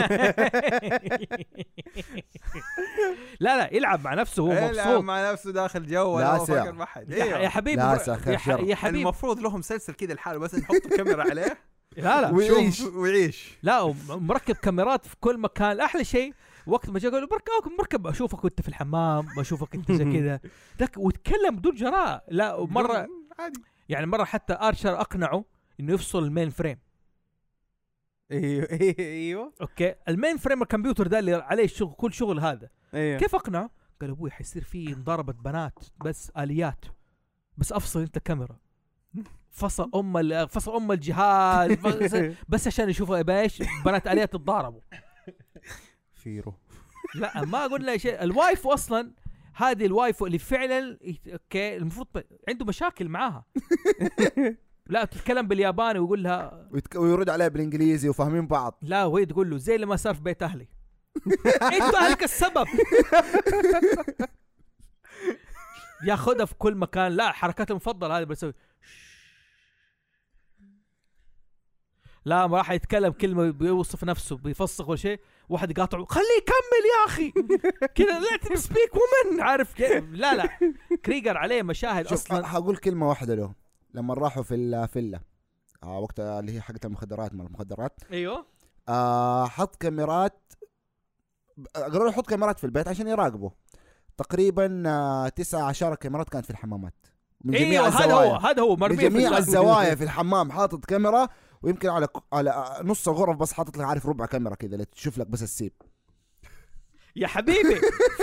Speaker 2: لا لا يلعب مع نفسه هو
Speaker 4: إيه، لا،
Speaker 2: مبسوط
Speaker 4: مع نفسه داخل جو
Speaker 1: لا
Speaker 4: ولا هو
Speaker 1: سيا.
Speaker 4: فاكر ما حد
Speaker 2: يا ح- يا
Speaker 4: إيوه.
Speaker 2: حبيبي
Speaker 1: لا
Speaker 2: بر-
Speaker 1: سخر
Speaker 2: يا, ح-
Speaker 1: شر.
Speaker 2: يا حبيبي
Speaker 4: المفروض له مسلسل كده لحاله بس نحط الكاميرا عليه
Speaker 2: لا لا
Speaker 1: ويعيش.
Speaker 4: شوف ويعيش
Speaker 2: لا وم- مركب كاميرات في كل مكان احلى شيء وقت ما جاء قال له بركب مركب اشوفك وانت في الحمام بشوفك انت زي كذا ذاك وتكلم بدون جراء لا ومره
Speaker 4: عادي
Speaker 2: يعني مره حتى ارشر اقنعه انه يفصل المين فريم
Speaker 3: ايوه ايوه
Speaker 2: اوكي المين فريم الكمبيوتر ده اللي عليه الشغل كل شغل هذا
Speaker 3: ايوه
Speaker 2: كيف اقنعه؟ قال ابوي حيصير في مضاربه بنات بس اليات بس افصل انت كاميرا فصل ام ال- فصل ام الجهاز بس- بس عشان يشوفوا يبقى ايش بنات اليات تتضاربوا
Speaker 3: فيرو
Speaker 2: لا ما قلنا شيء الوايفو اصلا هذه الوايفو اللي فعلا يت- اوكي المفروض ب... عنده مشاكل معاها لا تتكلم بالياباني ويقول لها
Speaker 1: ويتك... ويرد عليه بالانجليزي وفاهمين بعض
Speaker 2: لا وهي تقول له زي اللي ما صار في بيت اهلي انت اهلك السبب ياخذها في كل مكان لا حركات المفضله هذه بسوي لا ما راح يتكلم كلمه بيوصف نفسه بيفسخ ولا شيء واحد يقاطعه خليه يكمل يا اخي كذا لا سبيك ومن عارف كيف لا لا كريجر عليه مشاهد
Speaker 1: شوف أ-
Speaker 2: اصلا
Speaker 1: حقول كلمه واحده له لما راحوا في الفيلا آه وقت اللي هي حقت المخدرات مال المخدرات
Speaker 2: ايوه
Speaker 1: آه حط كاميرات قالوا له حط كاميرات في البيت عشان يراقبه تقريبا آه تسعة عشر كاميرات كانت في الحمامات من جميع
Speaker 2: ايوه هذا
Speaker 1: الزوايا
Speaker 2: هو هذا هو
Speaker 1: من
Speaker 2: مرمي في
Speaker 1: جميع
Speaker 2: الأرض.
Speaker 1: الزوايا في الحمام حاطط كاميرا ويمكن على على آه، نص الغرف بس حاطط لك عارف ربع كاميرا كذا اللي تشوف لك بس السيب
Speaker 2: يا حبيبي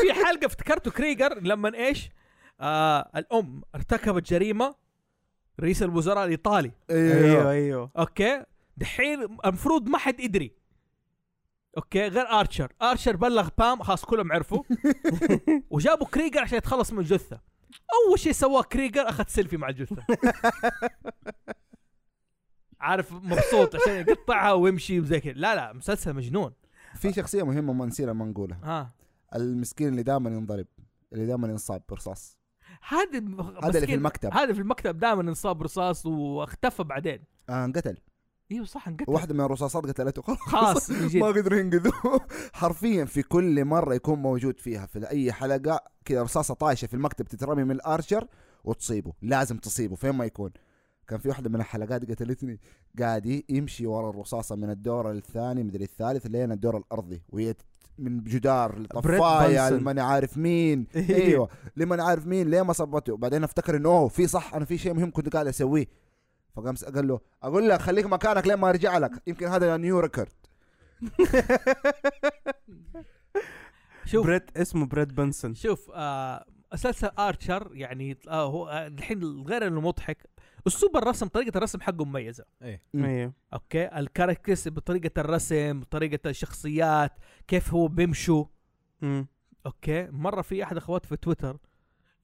Speaker 2: في حلقه افتكرته كريجر لما ايش؟ آه الام ارتكبت جريمه رئيس الوزراء الايطالي
Speaker 3: ايوه ايوه
Speaker 2: اوكي دحين المفروض ما حد يدري اوكي غير ارشر ارشر بلغ بام خلاص كلهم عرفوا وجابوا كريجر عشان يتخلص من الجثه اول شيء سواه كريجر اخذ سيلفي مع الجثه عارف مبسوط عشان يقطعها ويمشي وزي كذا لا لا مسلسل مجنون
Speaker 1: في شخصيه مهمه ما نسينا ما نقولها
Speaker 2: ها
Speaker 1: المسكين اللي دائما ينضرب اللي دائما ينصاب برصاص
Speaker 2: هذا
Speaker 1: هذا اللي في المكتب
Speaker 2: هذا في المكتب دائما انصاب رصاص واختفى بعدين
Speaker 1: آه انقتل
Speaker 2: ايوه صح انقتل
Speaker 1: واحده من الرصاصات قتلته خلاص
Speaker 2: خلاص من جد.
Speaker 1: ما قدروا ينقذوه حرفيا في كل مره يكون موجود فيها في اي حلقه كذا رصاصه طايشه في المكتب تترمي من الارشر وتصيبه لازم تصيبه فين ما يكون كان في واحده من الحلقات قتلتني قاعد يمشي ورا الرصاصه من الدور الثاني مدري الثالث لين الدور الارضي وهي تت- من جدار لطفايه
Speaker 3: بانسون.
Speaker 1: لمن عارف مين
Speaker 3: إيه.
Speaker 1: ايوه لمن عارف مين ليه ما صبته بعدين افتكر انه اوه في صح انا في شيء مهم كنت قاعد اسويه فقام س- قال له اقول لك خليك مكانك لين ما ارجع لك يمكن هذا يعني نيو ريكورد
Speaker 2: شوف
Speaker 3: بريت اسمه بريت بنسون
Speaker 2: شوف آه مسلسل ارشر يعني آه هو آه، الحين غير انه مضحك اسلوب الرسم طريقه الرسم حقه مميزه
Speaker 1: مم.
Speaker 3: ايوه
Speaker 2: اوكي الكاركترز بطريقه الرسم بطريقه الشخصيات كيف هو بيمشوا
Speaker 3: مم.
Speaker 2: اوكي مره في احد اخواتي في تويتر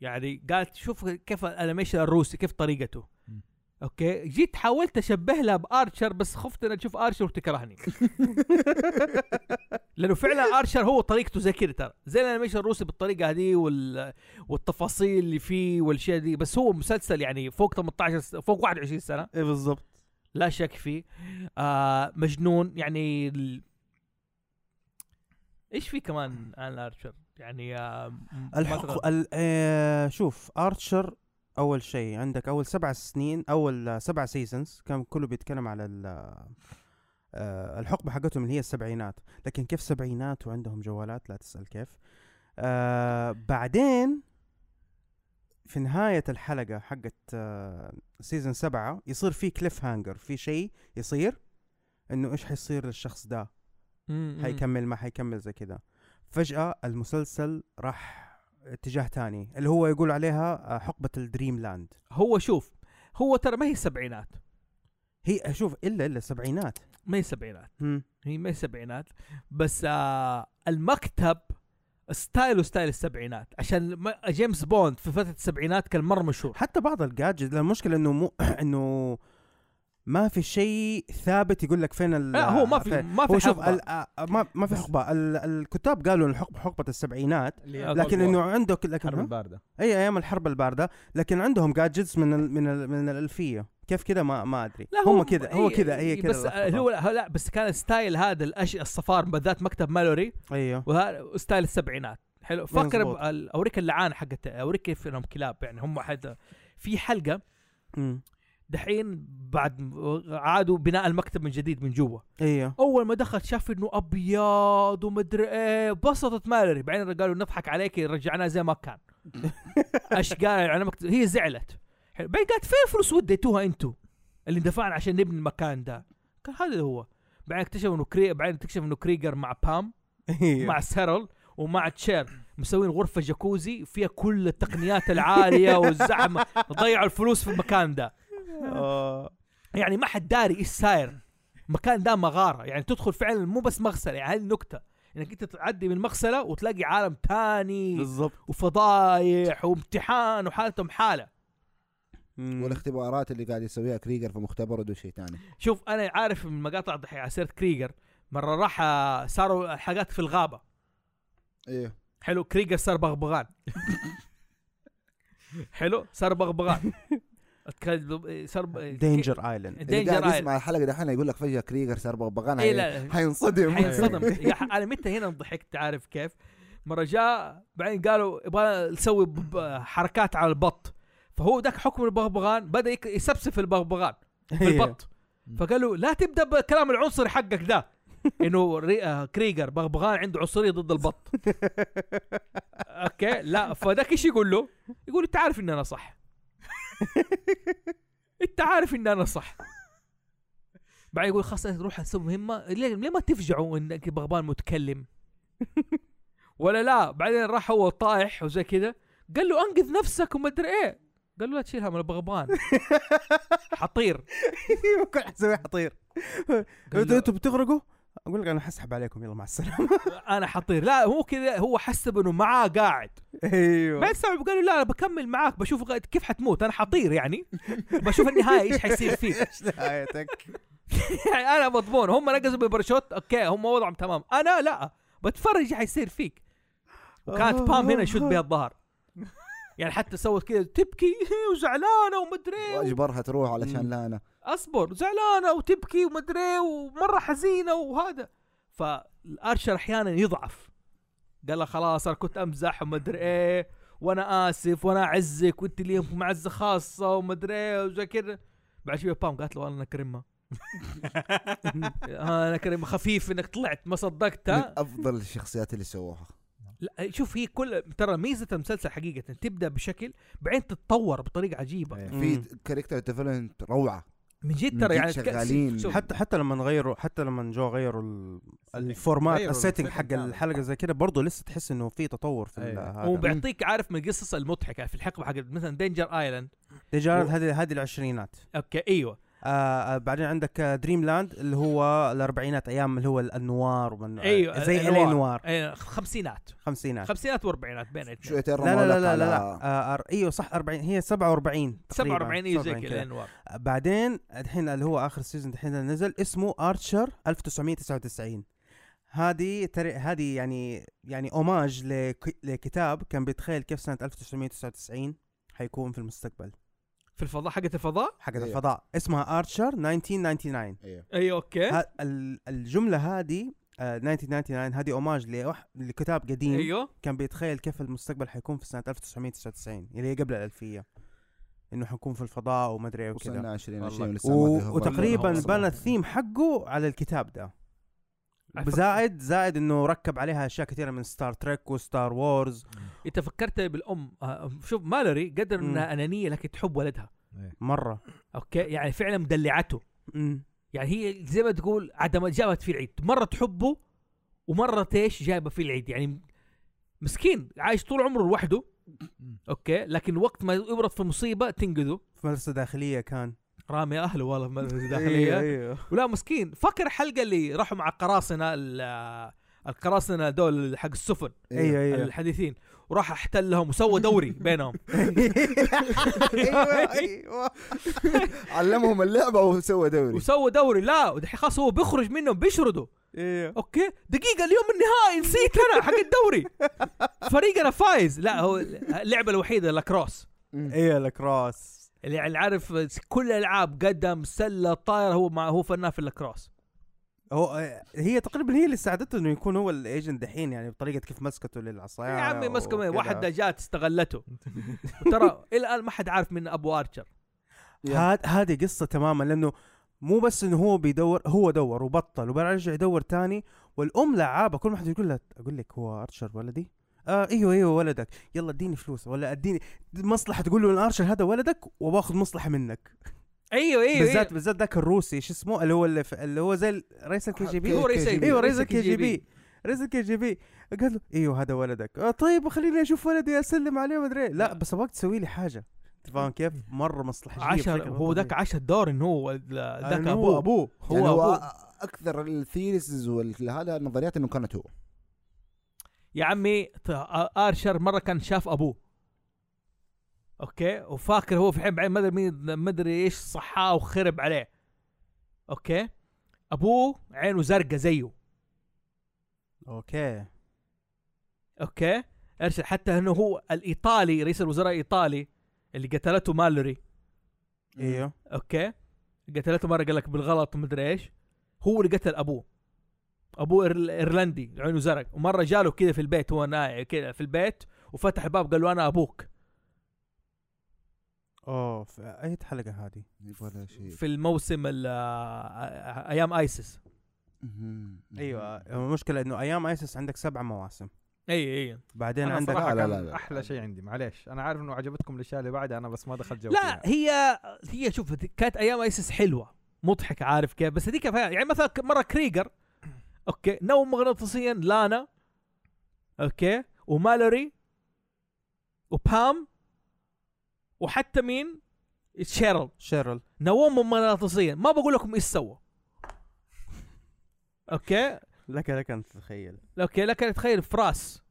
Speaker 2: يعني قالت شوف كيف الانيميشن الروسي كيف طريقته
Speaker 4: مم.
Speaker 2: اوكي جيت حاولت اشبه لها بارشر بس خفت انها تشوف ارشر وتكرهني لانه فعلا ارشر هو طريقته زي كذا ترى زي الانيميشن الروسي بالطريقه هذه وال... والتفاصيل اللي فيه والاشياء دي بس هو مسلسل يعني فوق 18 س- فوق 21 سنه
Speaker 3: ايه بالضبط
Speaker 2: لا شك فيه آه مجنون يعني ال... ايش في كمان عن ارشر يعني آه م- ما تغ-
Speaker 3: الحق ال... آه شوف ارشر اول شيء عندك اول سبع سنين اول آه، سبع سيزونز كان كله بيتكلم على ال... آه الحقبه حقتهم اللي هي السبعينات لكن كيف سبعينات وعندهم جوالات لا تسال كيف آه بعدين في نهاية الحلقة حقت آه، سيزون سبعة يصير في كليف هانجر في شيء يصير انه ايش حيصير للشخص ده
Speaker 2: م- م.
Speaker 3: حيكمل ما حيكمل زي كذا فجأة المسلسل راح اتجاه تاني اللي هو يقول عليها آه، حقبة الدريم لاند
Speaker 2: هو شوف هو ترى ما هي سبعينات
Speaker 3: هي شوف الا الا السبعينات
Speaker 2: ما هي سبعينات هي ما هي سبعينات بس آه المكتب ستايله ستايل السبعينات عشان ما- جيمس بوند في فتره السبعينات كان مره مشهور
Speaker 3: حتى بعض الجادجت المشكلة انه مو انه ما في شيء ثابت يقول لك فين ال
Speaker 2: لا هو ما في
Speaker 3: فين-
Speaker 2: ما
Speaker 3: هو
Speaker 2: في
Speaker 3: شوف
Speaker 2: حقبة.
Speaker 3: ال- آه، ما ما في حقبة ال- الكتاب قالوا الحقبة حقبة السبعينات
Speaker 2: Cold
Speaker 3: لكن
Speaker 2: War.
Speaker 3: انه عندك لكن
Speaker 4: حرب
Speaker 3: ها؟
Speaker 4: البارده
Speaker 3: اي ايام الحرب البارده لكن عندهم جادجتس من ال من ال من الالفيه كيف كذا ما ما ادري
Speaker 2: لا إيه،
Speaker 3: هم كذا هو كذا هي كذا
Speaker 2: بس آه، هو لا, لا بس كان ستايل هذا الأش... الصفار بالذات مكتب مالوري
Speaker 3: ايوه
Speaker 2: وهذا ستايل السبعينات حلو فكر
Speaker 3: مظبوط.
Speaker 2: ب- ال- اوريك اللعانه حقت اوريك كيف انهم كلاب يعني هم حد في حلقه
Speaker 3: مم.
Speaker 2: دحين بعد م- عادوا بناء المكتب من جديد من جوا
Speaker 3: ايوه
Speaker 2: اول ما دخل شاف انه ابيض ومدري ايه بسطت مالري بعدين قالوا نضحك عليك رجعناه زي ما كان ايش قال على مكتب هي زعلت حلو. بعدين قالت فين الفلوس وديتوها انتوا اللي دفعنا عشان نبني المكان ده قال هذا هو بعدين اكتشف انه كري بعدين اكتشف انه كريجر مع بام
Speaker 3: أيوه.
Speaker 2: مع سيرل ومع تشير مسوين غرفه جاكوزي فيها كل التقنيات العاليه والزعم ضيعوا الفلوس في المكان ده
Speaker 3: آه.
Speaker 2: يعني ما حد داري ايش صاير مكان ده مغاره يعني تدخل فعلا مو بس مغسله يعني هذه النكته انك انت تعدي من مغسله وتلاقي عالم تاني
Speaker 3: بالضبط
Speaker 2: وفضايح وامتحان وحالتهم حاله
Speaker 3: مم.
Speaker 1: والاختبارات اللي قاعد يسويها كريجر في مختبره ده شيء ثاني
Speaker 2: شوف انا عارف من مقاطع ضحية على سيره كريجر مره راح آه، صاروا حاجات في الغابه
Speaker 3: إيه.
Speaker 1: ايوه
Speaker 2: حلو كريجر صار بغبغان حلو صار بغبغان أتكلم- صار
Speaker 3: دينجر ايلاند
Speaker 1: اللي
Speaker 2: دينجر
Speaker 1: قاعد يسمع الحلقه دحين يقول لك فجاه كريجر صار بغبغان
Speaker 2: إيه،
Speaker 1: حي-
Speaker 2: لا.
Speaker 1: حينصدم
Speaker 2: حينصدم يا ح- انا متى هنا ضحكت عارف كيف مره جاء بعدين قالوا يبغى نسوي ب- ب- حركات على البط فهو ذاك حكم البغبغان بدا يك- يسبسف البغبغان في
Speaker 3: أيوه.
Speaker 2: البط فقالوا لا تبدا بالكلام العنصري حقك ده انه ري- آه، كريجر بغبغان عنده عنصريه ضد البط اوكي لا فذاك ايش يقول له؟ يقول انت عارف ان انا صح انت عارف ان انا صح بعدين يقول خلاص نروح نسوي مهمه ليه, ليه ما تفجعوا انك بغبان متكلم ولا لا بعدين راح هو طايح وزي كذا قال له انقذ نفسك وما ادري ايه قال له لا تشيل هم انا بغبان حطير
Speaker 3: كل حسوي حطير
Speaker 2: قال
Speaker 3: انتوا
Speaker 2: له
Speaker 3: انتوا بتغرقوا اقول لك انا حسحب عليكم يلا مع السلامه
Speaker 2: انا حطير لا هو كذا هو حسب انه معاه قاعد
Speaker 3: ايوه
Speaker 2: بعد استوعب قال له لا انا بكمل معاك بشوف غ- كيف حتموت انا حطير يعني بشوف النهايه ايش حيصير فيك
Speaker 3: ايش نهايتك
Speaker 2: يعني انا مضمون هم نقزوا بالباراشوت اوكي هم وضعهم تمام انا لا بتفرج ايش حيصير فيك وكانت بام هنا يشد بها الظهر يعني حتى سوت كذا تبكي وزعلانه ومدري
Speaker 1: واجبرها تروح علشان
Speaker 3: مم.
Speaker 1: لا انا
Speaker 2: اصبر زعلانه وتبكي ومدري ومره حزينه وهذا فالارشر احيانا يضعف قال لها خلاص انا كنت امزح ومدري ايه وانا اسف وانا اعزك وانت لي معزه خاصه ومدري ايه وزي كذا بعد شويه بام قالت له والله انا كريمه انا كريمه خفيف انك طلعت ما
Speaker 1: من
Speaker 2: صدقتها
Speaker 1: افضل الشخصيات اللي سووها
Speaker 2: لا شوف هي كل ترى ميزه المسلسل حقيقه تبدا بشكل بعدين تتطور بطريقه عجيبه
Speaker 4: إيه.
Speaker 1: يعني في
Speaker 3: مم.
Speaker 1: كاركتر ديفلوبمنت روعه
Speaker 2: من جد
Speaker 1: من جد
Speaker 2: ترى يعني
Speaker 1: شغالين.
Speaker 2: شوف-
Speaker 3: حتى حتى لما نغيروا حتى لما جو غيروا ال- الفورمات
Speaker 4: غيروا
Speaker 3: السيتنج
Speaker 4: أيوه، الsetting
Speaker 3: حق
Speaker 4: كامل.
Speaker 3: الحلقه زي كده برضه لسه تحس انه في تطور في ال-
Speaker 4: أيوة.
Speaker 2: هو
Speaker 3: هذا
Speaker 2: بيعطيك عارف من القصص المضحكه في الحقبه حق مثلا دينجر ايلاند
Speaker 3: تجارب هذه هذه العشرينات
Speaker 2: اوكي ايوه
Speaker 3: آه آه، بعدين عندك دريم لاند اللي هو الاربعينات ايام اللي هو الانوار ومن
Speaker 2: ايوه
Speaker 3: زي
Speaker 2: الأنوار.
Speaker 3: الانوار
Speaker 2: أيوة، خمسينات
Speaker 3: خمسينات
Speaker 2: خمسينات واربعينات بين الاثنين
Speaker 1: شويتين
Speaker 3: لا لا لا
Speaker 1: رمالك
Speaker 3: لا لا,
Speaker 1: على-
Speaker 3: لا. آه أر- ايوه صح 40 هي 47 تقريباً،
Speaker 2: 47 ايوه زي
Speaker 3: 47
Speaker 2: كذا الانوار
Speaker 3: آه، بعدين الحين اللي هو اخر سيزون الحين اللي نزل اسمه ارشر 1999 هذه ترى هذه يعني يعني اوماج لك- لكتاب كان بيتخيل كيف سنه 1999 حيكون في المستقبل
Speaker 2: في الفضاء حقه الفضاء
Speaker 3: حق
Speaker 1: أيوه.
Speaker 3: الفضاء اسمها ارشر 1999
Speaker 1: ايوه
Speaker 2: ايوه اوكي
Speaker 3: ه- ال- الجمله هذه آه، 1999 هذه اوماج لوح- لكتاب قديم
Speaker 2: ايوه
Speaker 3: كان بيتخيل كيف المستقبل حيكون في سنه 1999 اللي يعني هي قبل الالفيه انه حنكون في الفضاء وما ادري ايه وكذا
Speaker 1: وصلنا 20
Speaker 4: والله.
Speaker 1: 20 ولسه ما
Speaker 3: و...
Speaker 1: أدري هو
Speaker 3: وتقريبا
Speaker 1: ولا هو.
Speaker 3: بنى الثيم حقه على الكتاب ده
Speaker 2: أفكر-
Speaker 3: زائد زائد انه ركب عليها اشياء كثيره من ستار تريك وستار وورز
Speaker 2: انت فكرت بالام آه، شوف مالوري قدر
Speaker 3: مم.
Speaker 2: انها انانيه لكن تحب ولدها
Speaker 3: مره
Speaker 2: اوكي يعني فعلا مدلعته
Speaker 3: امم
Speaker 2: يعني هي زي ما تقول عدم جابت في العيد مره تحبه ومره ايش جايبه في العيد يعني مسكين عايش طول عمره لوحده اوكي لكن وقت ما يبرد في مصيبه تنقذه
Speaker 3: في مدرسه داخليه كان
Speaker 2: رامي اهله والله في مدرسه
Speaker 3: أيوه،
Speaker 2: داخليه
Speaker 3: أيوه.
Speaker 2: ولا مسكين فكر الحلقه اللي راحوا مع قراصنه ال- القراصنه دول حق السفن
Speaker 1: إيه.
Speaker 3: ايوه ايوه
Speaker 2: الحديثين وراح احتلهم وسوى دوري بينهم
Speaker 3: ايوه ايوه
Speaker 1: أيوة. علمهم اللعبه وسوى دوري
Speaker 2: وسوى دوري لا ودحين خلاص هو بيخرج منهم بيشردوا
Speaker 3: ايوه
Speaker 2: اوكي دقيقه اليوم النهائي نسيت انا حق الدوري فريقنا فايز لا هو اللعبه الوحيده لاكروس
Speaker 1: مم.
Speaker 3: ايوه الكروس
Speaker 2: اللي اللي عارف كل الالعاب قدم سله طايره هو مع هو فنان في اللاكروس
Speaker 3: هو آه، هي تقريبا هي اللي ساعدته انه يكون هو الايجنت دحين يعني بطريقه كيف مسكته للعصايه
Speaker 2: يا عمي مسكوا
Speaker 3: وكذا.
Speaker 2: مين واحد جات استغلته ترى الى الان ما حد عارف من ابو ارشر
Speaker 3: هاد هذه قصه تماما لانه مو بس انه هو بيدور هو دور وبطل وبعدين رجع يدور تاني والام لعابه كل ما حد يقول لها اقول لك هو ارشر ولدي؟ آه ايوه ايوه ولدك يلا اديني فلوس ولا اديني مصلحه تقول له ان ارشر هذا ولدك وباخذ مصلحه منك
Speaker 2: ايوه ايوه
Speaker 3: بالذات بالذات ذاك الروسي شو اسمه اللي هو اللي, في اللي هو زي ال- رئيس الكي جي بي
Speaker 2: هو رئيس
Speaker 1: كي جي بي.
Speaker 3: ايوه رئيس
Speaker 2: إيه، رئيس
Speaker 3: الكي جي
Speaker 2: KGB.
Speaker 3: بي رئيس الكي جي بي قال له ايوه هذا ولدك آه طيب خليني اشوف ولدي اسلم عليه ما ادري إيه.
Speaker 2: آه.
Speaker 3: لا بس ابغاك تسوي لي حاجه أنت فاهم كيف؟ مره مصلحه
Speaker 2: عشر هو ذاك عشر دور انه هو ذاك
Speaker 3: أيوه.
Speaker 2: ابوه ابوه
Speaker 3: ابوه
Speaker 1: هو, يعني هو
Speaker 2: أبوه.
Speaker 1: اكثر الثيريسز وهذا النظريات انه كانت هو
Speaker 2: يا عمي ت- ارشر مره كان شاف ابوه اوكي وفاكر هو في حين بعدين ما ادري مين ما ادري ايش صحاه وخرب عليه اوكي ابوه عينه زرقاء زيه
Speaker 3: اوكي
Speaker 2: اوكي ارشر حتى انه هو الايطالي رئيس الوزراء الايطالي اللي قتلته مالوري
Speaker 3: ايوه
Speaker 2: إيه. اوكي قتلته مره قال لك بالغلط ومدري ايش هو اللي قتل ابوه ابوه إيرل- ايرلندي عينه زرق ومره جاله كذا في البيت هو نايم كذا في البيت وفتح الباب قال له انا ابوك
Speaker 3: اوه في اي حلقه هذه؟
Speaker 1: ولا شيء
Speaker 2: في الموسم ال- آه، ايام ايسس
Speaker 1: مهم.
Speaker 2: نعم.
Speaker 3: ايوه المشكله انه ايام ايسس عندك سبع مواسم
Speaker 2: اي اي
Speaker 3: بعدين
Speaker 4: انا
Speaker 3: عندك
Speaker 4: صراحه
Speaker 1: لا، لا،
Speaker 4: كان
Speaker 1: لا، لا.
Speaker 4: احلى شيء عندي معليش انا عارف انه عجبتكم الاشياء اللي بعدها انا بس ما دخلت جو فيها.
Speaker 2: لا هي هي شوف كانت ايام ايسس حلوه مضحك عارف كيف بس هذيك فيها- يعني مثلا مره كريجر اوكي نوم مغناطيسيا لانا اوكي ومالوري وبام وحتى مين شيرل
Speaker 3: شيرل
Speaker 2: نومهم مغناطيسيا ما بقول لكم ايش سوى اوكي
Speaker 3: لك لك ان تتخيل
Speaker 2: اوكي لكن تخيل فراس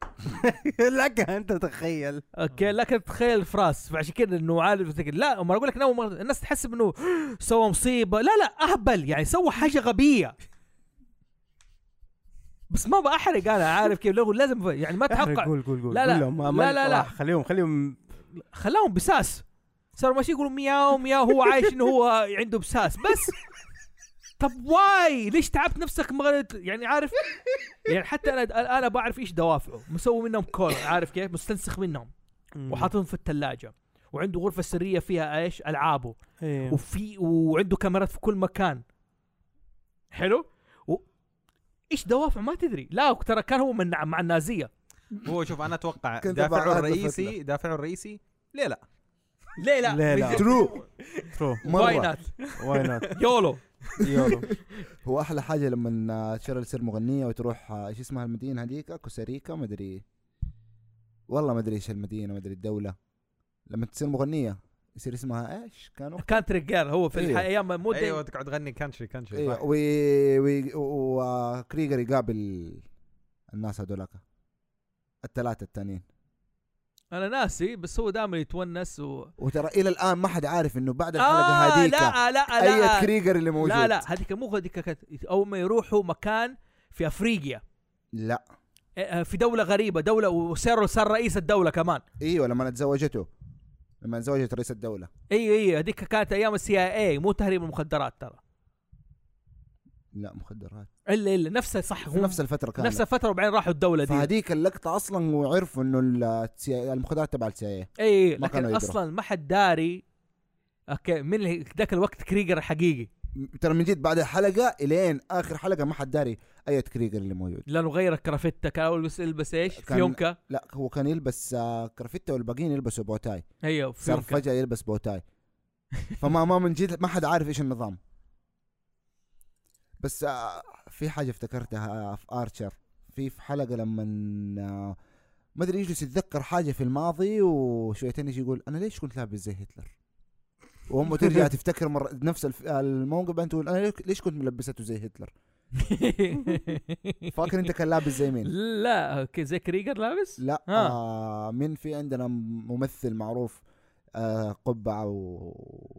Speaker 3: لك ان تتخيل
Speaker 2: اوكي لكن تخيل فراس فعشان كذا انه عالم زي كده. لا ما اقول لك نوم مغناطيسي. الناس تحسب انه سوى مصيبه لا لا اهبل يعني سوى حاجه غبيه بس ما بحرق انا عارف كيف لو لازم يعني ما
Speaker 3: احرق،
Speaker 2: تحقق
Speaker 3: قول قول قول
Speaker 2: لا، لا.
Speaker 3: قول لهم ما- ما-
Speaker 2: لا، لا، لا.
Speaker 3: آه، خليهم خليهم
Speaker 2: خلاهم بساس صاروا ماشيين يقولوا مياو مياو هو عايش انه هو عنده بساس بس طب واي ليش تعبت نفسك مغلط يعني عارف يعني حتى انا انا بعرف ايش دوافعه مسوي منهم كول عارف كيف مستنسخ منهم وحاطهم في الثلاجه وعنده غرفه سريه فيها ايش العابه
Speaker 3: إيه.
Speaker 2: وفي وعنده كاميرات في كل مكان حلو و... ايش دوافع ما تدري لا ترى كان هو من مع النازيه
Speaker 4: هو شوف انا اتوقع
Speaker 1: كنت
Speaker 4: دافعه
Speaker 1: بعرف
Speaker 4: الرئيسي دافعه الرئيسي ليه لا
Speaker 2: ليه لا
Speaker 3: ليه لا؟
Speaker 1: ترو
Speaker 3: ترو
Speaker 2: واي
Speaker 1: مره
Speaker 2: نات
Speaker 3: واي نوت
Speaker 2: يولو
Speaker 3: يلا
Speaker 1: هو احلى حاجه لما آه، شيرل تصير مغنيه وتروح آه، ايش اسمها المدينه هذيك كوستاريكا ما ادري والله ما ادري ايش المدينه ما ادري الدوله لما تصير مغنيه يصير اسمها ايش كانوا
Speaker 2: كانتري جير هو في
Speaker 1: أيوه.
Speaker 2: الح- ايام مو
Speaker 4: ايوه
Speaker 2: دايما-
Speaker 4: تقعد تغني كانتري كانتري
Speaker 1: ايوه
Speaker 4: صح.
Speaker 1: وي وي وكريجر يقابل الناس هذولاك الثلاثه التانيين
Speaker 2: انا ناسي بس هو دائما يتونس و
Speaker 1: وترى الى الان ما حد عارف انه بعد الحلقه هذيك
Speaker 2: آه، لا لا
Speaker 1: اي
Speaker 2: لا
Speaker 1: كريجر اللي موجود
Speaker 2: لا لا هذيك مو هذيك كانت اول ما يروحوا مكان في افريقيا
Speaker 1: لا
Speaker 2: آه، في دوله غريبه دوله وسيرو صار رئيس الدوله كمان
Speaker 1: ايوه لما تزوجته لما تزوجت رئيس الدوله
Speaker 2: ايوه ايوه هذيك كانت ايام السي اي اي مو تهريب المخدرات ترى
Speaker 1: لا مخدرات
Speaker 2: الا الا نفسها صح
Speaker 1: في
Speaker 2: هم
Speaker 1: نفس الفتره كانت
Speaker 2: نفس
Speaker 1: نفس
Speaker 2: الفتره وبعدين راحوا الدوله دي
Speaker 1: فهذيك اللقطه اصلا وعرفوا انه ال- CIA المخدرات تبع السي
Speaker 2: اي
Speaker 1: ما كانوا
Speaker 2: إيه،
Speaker 1: يدروا.
Speaker 2: لكن اصلا ما حد داري اوكي من اللي- ذاك الوقت كريجر الحقيقي
Speaker 1: ترى من جد بعد الحلقه الين اخر حلقه ما حد داري اي كريجر اللي موجود
Speaker 2: لانه غير الكرافته كان اول بس يلبس ايش؟
Speaker 1: كان-
Speaker 2: فيونكا
Speaker 1: لا هو كان يلبس آه، كرافته والباقيين يلبسوا بوتاي
Speaker 2: ايوه
Speaker 1: صار
Speaker 2: فيونكا
Speaker 1: فجأة يلبس بوتاي فما ما من جد ما حد عارف ايش النظام بس آه، في حاجة افتكرتها آه، في ارشر في في حلقة لما آه، ما ادري يجلس يتذكر حاجة في الماضي وشويتين يجي يقول انا ليش كنت لابس زي هتلر؟ وامه ترجع تفتكر مرة نفس الف- الموقف بعدين تقول انا ليك- ليش كنت ملبسته زي هتلر؟ فاكر انت كان لابس زي مين؟
Speaker 2: لا اوكي زي كريجر لابس؟
Speaker 1: لا
Speaker 2: ها.
Speaker 1: آه مين في عندنا ممثل معروف آه قبعة و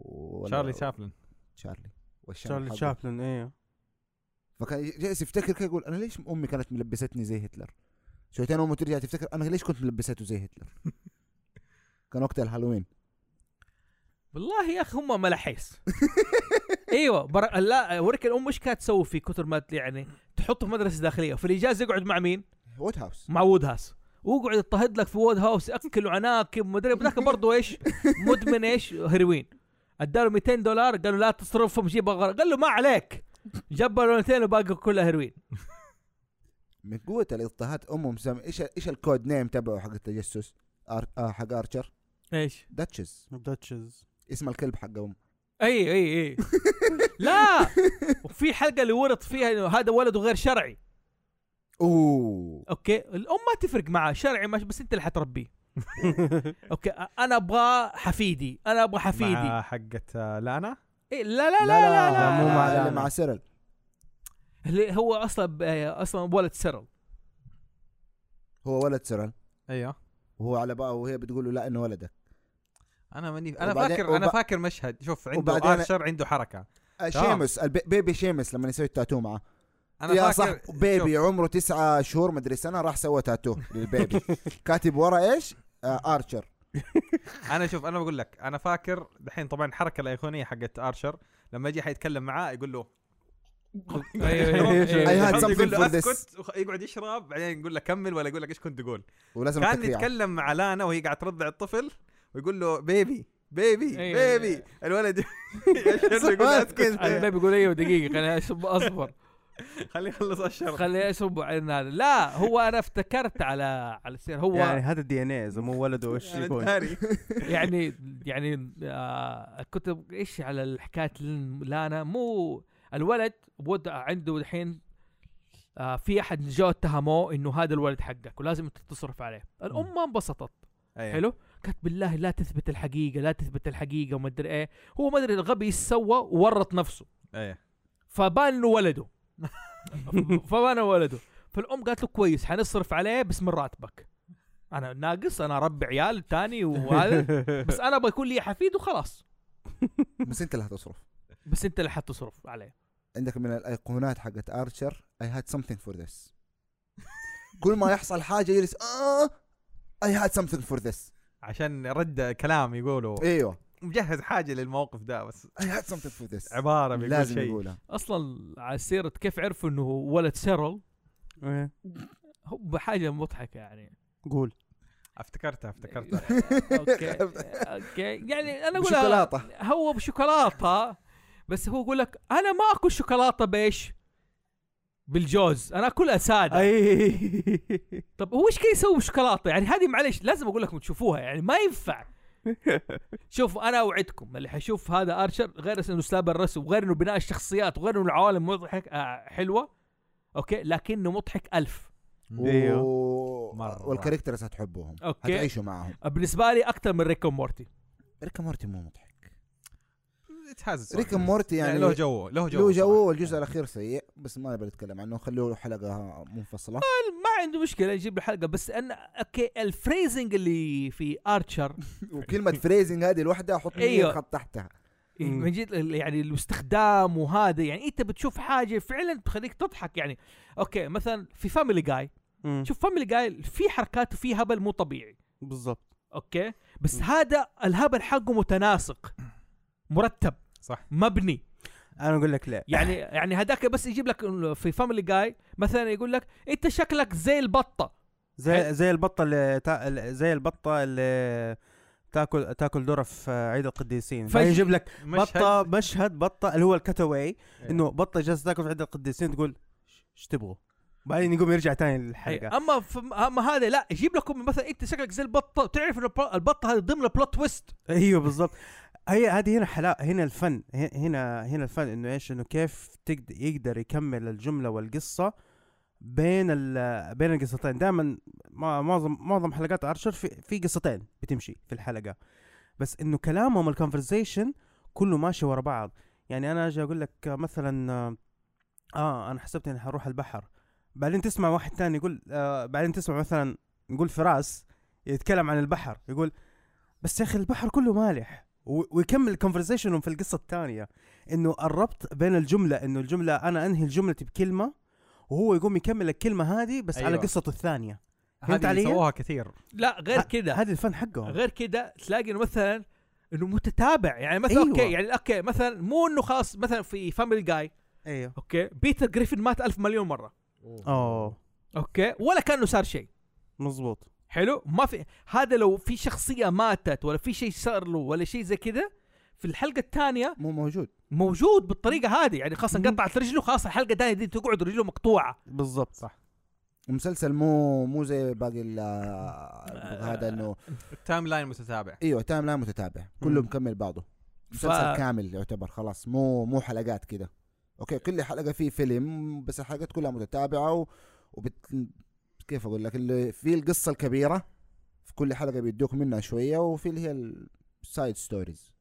Speaker 1: ولا-
Speaker 4: شارلي شابلن
Speaker 1: تشارلي والشنب
Speaker 3: شارلي
Speaker 1: حقه.
Speaker 3: شابلن ايه
Speaker 1: فكان جالس يفتكر كده يقول انا ليش امي كانت ملبستني زي هتلر؟ شويتين امه ترجع تفتكر انا ليش كنت ملبسته زي هتلر؟ كان وقت الهالوين
Speaker 2: والله يا اخي هم ملاحيس ايوه بر... لا اوريك الام ايش كانت تسوي في كثر ما يعني تحطه في مدرسه داخليه في الاجازه يقعد مع مين؟
Speaker 1: وات هاوس
Speaker 2: مع وود هاوس ويقعد يضطهد لك في وود هاوس اكل وعناكب ومدري ذاك برضه ايش؟ مدمن ايش؟ هيروين اداله 200 دولار قالوا لا تصرفهم جيب أغر... قال له ما عليك جاب بالونتين وباقي كلها هيروين
Speaker 1: من قوه الاضطهاد امه مسمى ايش ايش الكود نيم تبعه حق التجسس؟ أر... آه حق ارشر
Speaker 2: ايش؟
Speaker 1: داتشز
Speaker 3: داتشز
Speaker 1: اسم الكلب حق امه
Speaker 2: اي اي اي لا وفي حلقه اللي ورط فيها انه هذا ولده غير شرعي
Speaker 1: اوه
Speaker 2: اوكي الام ما تفرق معها شرعي مش بس انت اللي حتربيه اوكي أ- انا ابغى حفيدي انا ابغى حفيدي
Speaker 4: مع حقت آه، لانا
Speaker 2: إيه لا لا لا لا, لا,
Speaker 3: لا، مو مع
Speaker 1: اللي
Speaker 3: لا.
Speaker 1: مع سيرل
Speaker 2: اللي هو اصلا ب- آه، اصلا ولد سيرل
Speaker 1: هو ولد سيرل
Speaker 4: ايوه
Speaker 1: وهو على بقى وهي بتقول له لا انه ولدك
Speaker 4: انا ماني انا
Speaker 1: وبعدين-
Speaker 4: فاكر انا
Speaker 1: وب-
Speaker 4: فاكر مشهد شوف عنده
Speaker 1: وبعدين-
Speaker 4: ارشر عنده حركه
Speaker 1: آه
Speaker 4: تمام.
Speaker 1: شيمس البيبي شيمس لما يسوي التاتو معه
Speaker 4: انا
Speaker 1: يا
Speaker 4: فاكر
Speaker 1: صح بيبي
Speaker 4: شوف،
Speaker 1: عمره تسعة شهور مدري سنه راح سوى تاتو للبيبي كاتب ورا ايش؟ آه ارشر
Speaker 4: انا شوف انا بقول لك انا فاكر دحين طبعا الحركه الايقونيه حقت ارشر لما يجي حيتكلم معاه يقول له
Speaker 2: أيوة.
Speaker 1: I had
Speaker 4: أيوة، يقول
Speaker 1: something
Speaker 4: له
Speaker 1: for this.
Speaker 4: اسكت وخ- يقعد يشرب بعدين يقول له كمل ولا يقول لك ايش كنت تقول
Speaker 1: ولازم يعني.
Speaker 4: كان
Speaker 1: التكريع
Speaker 4: يتكلم مع لانا وهي قاعده ترضع الطفل ويقول له بيبي بيبي
Speaker 2: أيوة.
Speaker 4: بيبي الولد يشرب يقول له اسكت
Speaker 2: الباب يقول ايوه دقيقه خليني اشرب اصبر
Speaker 4: خليه يخلص الشرب
Speaker 2: خليني اشرب بعدين هذا لا هو انا افتكرت على على السير هو
Speaker 3: يعني هذا الدي ان اي اذا مو ولده وش
Speaker 4: أنا
Speaker 3: يكون
Speaker 4: داري.
Speaker 2: يعني يعني آه كنت ب- ايش على الحكايه لن- لانا مو الولد بود عنده الحين آه في احد جاء اتهموه انه هذا الولد حقك ولازم انت تصرف عليه الام ما انبسطت
Speaker 4: أيوة.
Speaker 2: حلو قالت بالله لا تثبت الحقيقه لا تثبت الحقيقه وما ادري ايه هو ما ادري الغبي ايش سوى وورط نفسه
Speaker 4: ايه
Speaker 2: فبان انه ولده فبان إنه ولده فالام قالت له كويس حنصرف عليه بس من راتبك انا ناقص انا ربي عيال تاني وهذا بس انا ابغى يكون لي حفيد وخلاص
Speaker 1: بس انت اللي هتصرف
Speaker 2: بس انت اللي حتصرف عليه
Speaker 1: عندك من الايقونات حقت ارشر اي هاد سمثينج فور ذس كل ما يحصل حاجه يجلس اه اي هاد سمثينج فور ذس
Speaker 4: عشان رد كلام يقولوا
Speaker 1: ايوه
Speaker 4: مجهز حاجه للموقف ده بس
Speaker 1: اي هاد سمثينج فور ذس
Speaker 4: عباره بيقول
Speaker 1: لازم
Speaker 4: شيء
Speaker 1: يقولها
Speaker 2: اصلا على سيره كيف عرفوا انه ولد سيرل
Speaker 3: إيه.
Speaker 2: هو بحاجه مضحكه يعني
Speaker 3: قول
Speaker 4: افتكرتها افتكرتها
Speaker 2: اوكي اوكي يعني انا اقول
Speaker 1: شوكولاته
Speaker 2: هو بشوكولاته بس هو يقول لك انا ما اكل شوكولاته بايش؟ بالجوز انا اكلها ساده أي.
Speaker 3: اي
Speaker 2: طب هو ايش كان يسوي بالشوكولاته يعني هذه معلش لازم اقول لكم تشوفوها يعني ما ينفع شوف انا اوعدكم اللي حيشوف هذا ارشر غير انه اسلوب الرسم وغير انه بناء الشخصيات وغير انه العوالم مضحك آه حلوه اوكي لكنه مضحك الف
Speaker 3: إيوه.
Speaker 1: و-
Speaker 4: مرة.
Speaker 1: والكاركترز هتحبوهم
Speaker 2: اوكي
Speaker 1: هتعيشوا معاهم
Speaker 2: بالنسبه لي اكثر من ريكو مورتي
Speaker 1: ريكا مورتي مو مضحك
Speaker 4: يتهزز
Speaker 1: ريكا مورتي
Speaker 4: يعني
Speaker 1: يعني
Speaker 4: له جوه له جوه
Speaker 1: له جو والجزء الاخير سيء بس ما نبي نتكلم عنه خلوه حلقه منفصله
Speaker 2: ما عنده مشكله يجيب الحلقه بس ان اوكي الفريزنج اللي في ارشر
Speaker 1: وكلمه فريزنج هذه الوحده احط
Speaker 2: أيوه.
Speaker 1: أيوه. خط تحتها
Speaker 3: مم.
Speaker 2: من جد ال- يعني الاستخدام وهذا يعني انت بتشوف حاجه فعلا تخليك تضحك يعني اوكي مثلا في فاميلي جاي شوف فاميلي جاي في حركات وفي هبل مو طبيعي
Speaker 3: بالضبط
Speaker 2: اوكي بس
Speaker 3: مم.
Speaker 2: هذا الهبل حقه متناسق مرتب
Speaker 4: صح
Speaker 2: مبني
Speaker 3: انا اقول لك ليه
Speaker 2: يعني يعني هذاك بس يجيب لك إنه في فاميلي جاي مثلا يقول لك انت شكلك زي البطه
Speaker 3: زي زي البطه اللي تا... اللي- زي البطه اللي تاكل تاكل ذره في عيد القديسين
Speaker 2: فش-
Speaker 3: فيجيب لك
Speaker 4: مشهد.
Speaker 3: بطه مشهد بطه اللي هو الكتاوي
Speaker 4: إيه.
Speaker 3: انه بطه جالسه تاكل في عيد القديسين تقول ايش تبغوا بعدين يقوم يرجع تاني للحلقه
Speaker 2: اما ف... اما هذا لا يجيب لكم مثلا انت شكلك زي البطه وتعرف انه الب- البطه هذه ضمن البلوت تويست
Speaker 3: ايوه بالضبط هي هذه هنا حلا هنا الفن ه- هنا هنا الفن انه ايش انه كيف تقد... يقدر يكمل الجمله والقصه بين ال... بين القصتين دائما معظم معظم حلقات ارشر في... في قصتين بتمشي في الحلقه بس انه كلامهم الكونفرزيشن كله ماشي ورا بعض يعني انا اجي اقول لك مثلا اه انا حسبت اني حروح البحر بعدين تسمع واحد تاني يقول آه بعدين تسمع مثلا نقول فراس يتكلم عن البحر يقول بس يا اخي البحر كله مالح و- ويكمل كونفرزيشنهم في القصه الثانيه انه الربط بين الجمله انه الجمله انا انهي جملتي بكلمه وهو يقوم يكمل الكلمه هذه بس أيوة. على
Speaker 4: أيوة.
Speaker 3: قصته الثانيه فهمت
Speaker 4: هذه
Speaker 3: علي؟
Speaker 4: سووها كثير
Speaker 2: لا غير
Speaker 3: ه-
Speaker 2: كذا
Speaker 3: هذا الفن حقهم
Speaker 2: غير كده تلاقي انه مثلا انه متتابع يعني مثلا
Speaker 3: أيوة.
Speaker 2: أيوة. اوكي يعني اوكي مثلا مو انه خلاص مثلا في فاميلي جاي
Speaker 3: ايوه
Speaker 2: اوكي بيتر جريفن مات ألف مليون مره
Speaker 3: اوه
Speaker 2: اوكي ولا كانه صار شيء
Speaker 3: مزبوط
Speaker 2: حلو ما في هذا لو في شخصيه ماتت ولا في شيء صار له ولا شيء زي كده في الحلقه الثانيه
Speaker 1: مو موجود
Speaker 2: موجود بالطريقه هذه يعني خلاص
Speaker 3: مم.
Speaker 2: انقطعت رجله خلاص الحلقه الثانيه دي تقعد رجله مقطوعه
Speaker 3: بالضبط صح
Speaker 1: المسلسل مو مو زي باقي ال- آه، هذا انه
Speaker 4: التايم لاين متتابع
Speaker 1: ايوه تايم لاين متتابع كله
Speaker 3: مم.
Speaker 1: مكمل بعضه مسلسل كامل يعتبر خلاص مو مو حلقات كده اوكي كل حلقه فيه فيلم بس الحلقات كلها متتابعه و... وبت... كيف اقول لك اللي في القصه الكبيره في كل حلقه بيدوك منها شويه وفي اللي هي السايد ستوريز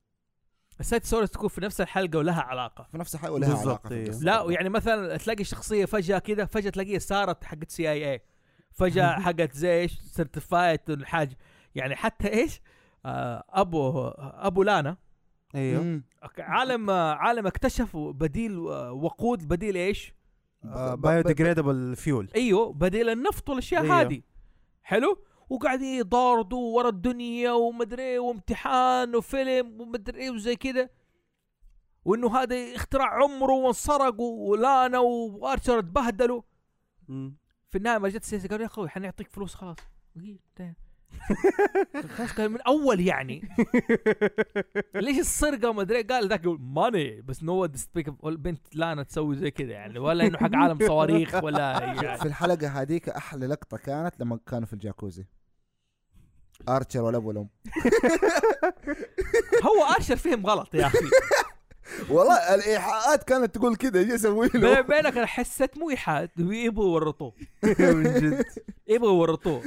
Speaker 2: السايد ستوري تكون في نفس الحلقه ولها علاقه
Speaker 1: في نفس الحلقه ولها
Speaker 3: بالضبط،
Speaker 1: علاقه في
Speaker 3: أيوه.
Speaker 1: القصة
Speaker 2: لا
Speaker 1: طبعاً.
Speaker 2: يعني مثلا تلاقي شخصيه فجاه كده فجاه تلاقيها صارت حقت سي اي اي فجاه حقت زي ايش سيرتيفايت الحاجه يعني حتى ايش آه ابو ابو لانا
Speaker 3: ايوه
Speaker 1: مم.
Speaker 2: أوكي، عالم آه، عالم اكتشفوا بديل آه، وقود بديل ايش
Speaker 1: آه، ب- ب-
Speaker 3: آه، بايو ديجريدبل فيول
Speaker 2: ايوه بديل النفط والاشياء
Speaker 3: أيوه.
Speaker 2: هذه حلو وقاعد يضاردوا ورا الدنيا ومدري إيه وامتحان وفيلم ومدري ايه وزي كده وانه هذا اختراع عمره وانسرق ولانا وارشر اتبهدلوا في النهايه ما جت سيسي قالوا يا اخوي حنعطيك فلوس خلاص قلت له، خلاص قال من اول يعني ليش السرقه وما ادري إيه؟ قال ذاك يقول ماني بس نو سبيك البنت لانا تسوي زي كذا يعني ولا انه حق عالم صواريخ ولا
Speaker 1: في
Speaker 2: يعني
Speaker 1: الحلقه هذيك احلى لقطه كانت لما كانوا في الجاكوزي ارشر والاب والام
Speaker 2: هو ارشر فهم غلط يا اخي
Speaker 1: والله الايحاءات كانت تقول كذا ايش اسوي
Speaker 2: بيني
Speaker 1: له
Speaker 2: وبينك انا حسيت مو ايحاد يبغوا يورطوه
Speaker 3: من جد
Speaker 2: يبغوا يورطوه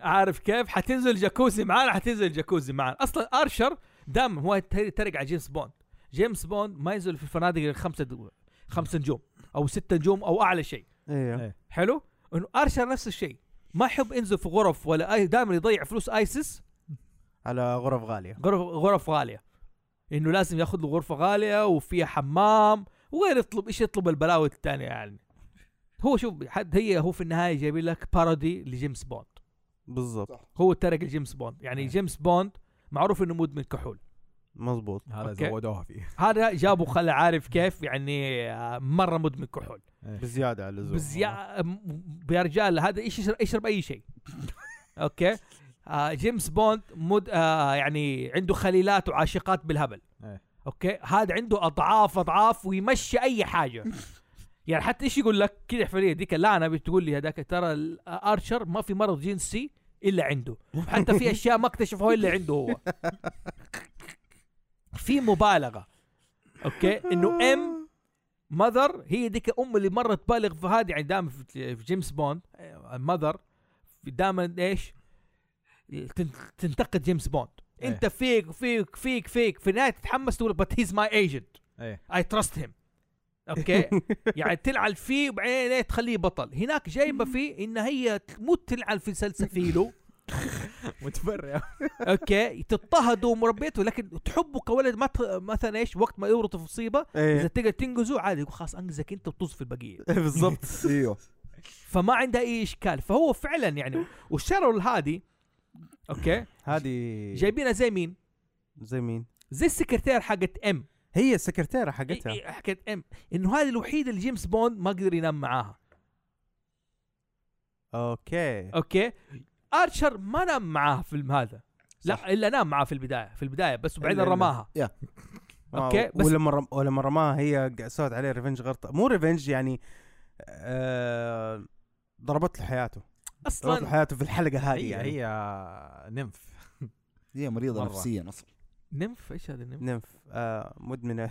Speaker 2: عارف كيف حتنزل جاكوزي معانا حتنزل جاكوزي معانا اصلا ارشر دام هو تر- ترق على جيمس بوند جيمس بوند ما ينزل في الفنادق غير خمسه دو... خمسه نجوم او سته نجوم او اعلى شيء
Speaker 3: ايوه
Speaker 4: إيه.
Speaker 2: حلو انه ارشر نفس الشيء ما يحب ينزل في غرف ولا اي دائما يضيع فلوس ايسس
Speaker 3: على غرف غاليه
Speaker 2: غرف غرف غاليه انه لازم ياخذ له غرفه غاليه وفيها حمام وغير يطلب ايش يطلب البلاوي الثانيه يعني هو شوف حد هي هو في النهايه جايب لك بارودي لجيمس بوند
Speaker 3: بالضبط
Speaker 2: هو ترك جيمس بوند يعني جيمس بوند معروف انه مدمن كحول
Speaker 3: مزبوط
Speaker 4: هذا
Speaker 2: أوكي.
Speaker 4: زودوها فيه
Speaker 2: هذا جابه خلى عارف كيف يعني آه، مره مدمن كحول
Speaker 4: إيه.
Speaker 3: بزياده على اللزوم
Speaker 2: بزيا م- يا رجال هذا ايش يشرب, يشرب اي شيء اوكي آه جيمس بوند مد آه يعني عنده خليلات وعاشقات بالهبل
Speaker 4: إيه.
Speaker 2: اوكي هذا عنده اضعاف اضعاف ويمشي اي حاجه يعني حتى ايش يقول لك كذا حفريه ديك اللعنه بتقول لي هذاك ترى الارشر ما في مرض جنسي الا عنده حتى في اشياء ما اكتشفوها الا عنده هو في مبالغه اوكي انه ام ماذر هي ديك ام اللي مره تبالغ في هذه يعني دائما في في جيمس بوند آه، ماذر دائما ايش؟ تن- تنتقد جيمس بوند
Speaker 4: إيه.
Speaker 2: انت فيك فيك فيك فيك في النهايه تتحمس تقول بت هيز ماي ايجنت
Speaker 4: ايه
Speaker 2: اي تراست هيم اوكي يعني تلعن فيه وبعدين إيه تخليه بطل هناك جايبه فيه ان هي مو تلعن في سلسفيله
Speaker 4: متفرع
Speaker 2: اوكي تضطهده ومربيته لكن تحبه كولد ما ت- مثلا ايش وقت ما يورط في مصيبه اذا
Speaker 3: ايه
Speaker 2: تقدر تنقذه عادي يقول خلاص انقذك انت وطز في البقيه
Speaker 3: بالضبط
Speaker 1: ايوه
Speaker 2: فما عنده اي اشكال فهو فعلا يعني والشارل هادي اوكي
Speaker 3: هذه
Speaker 2: جايبينها زي مين؟
Speaker 3: زي مين؟
Speaker 2: زي السكرتير حقت ام
Speaker 3: هي السكرتيره
Speaker 2: إي-
Speaker 3: حقتها
Speaker 2: إي- حقت ام انه هذه الوحيده اللي جيمس بوند ما قدر ينام معاها
Speaker 3: اوكي
Speaker 2: اوكي ارشر ما نام معاها في الم- هذا لا الا نام معاها في البدايه في البدايه بس وبعدين
Speaker 3: إلا- إلا.
Speaker 2: رماها أوكي، بس-
Speaker 3: بس ولما رم... ولما رماها هي ق- سوت عليه ريفنج غلطه مو ريفنج يعني آه... ضربت له حياته ضربت له
Speaker 2: اصلا
Speaker 3: حياته في الحلقه هذه
Speaker 4: هي
Speaker 3: يعني
Speaker 4: هي نمف
Speaker 1: هي مريضه
Speaker 4: مرة.
Speaker 1: نفسيا اصلا
Speaker 2: نمف ايش هذا النمف؟
Speaker 3: نمف آه... مدمنه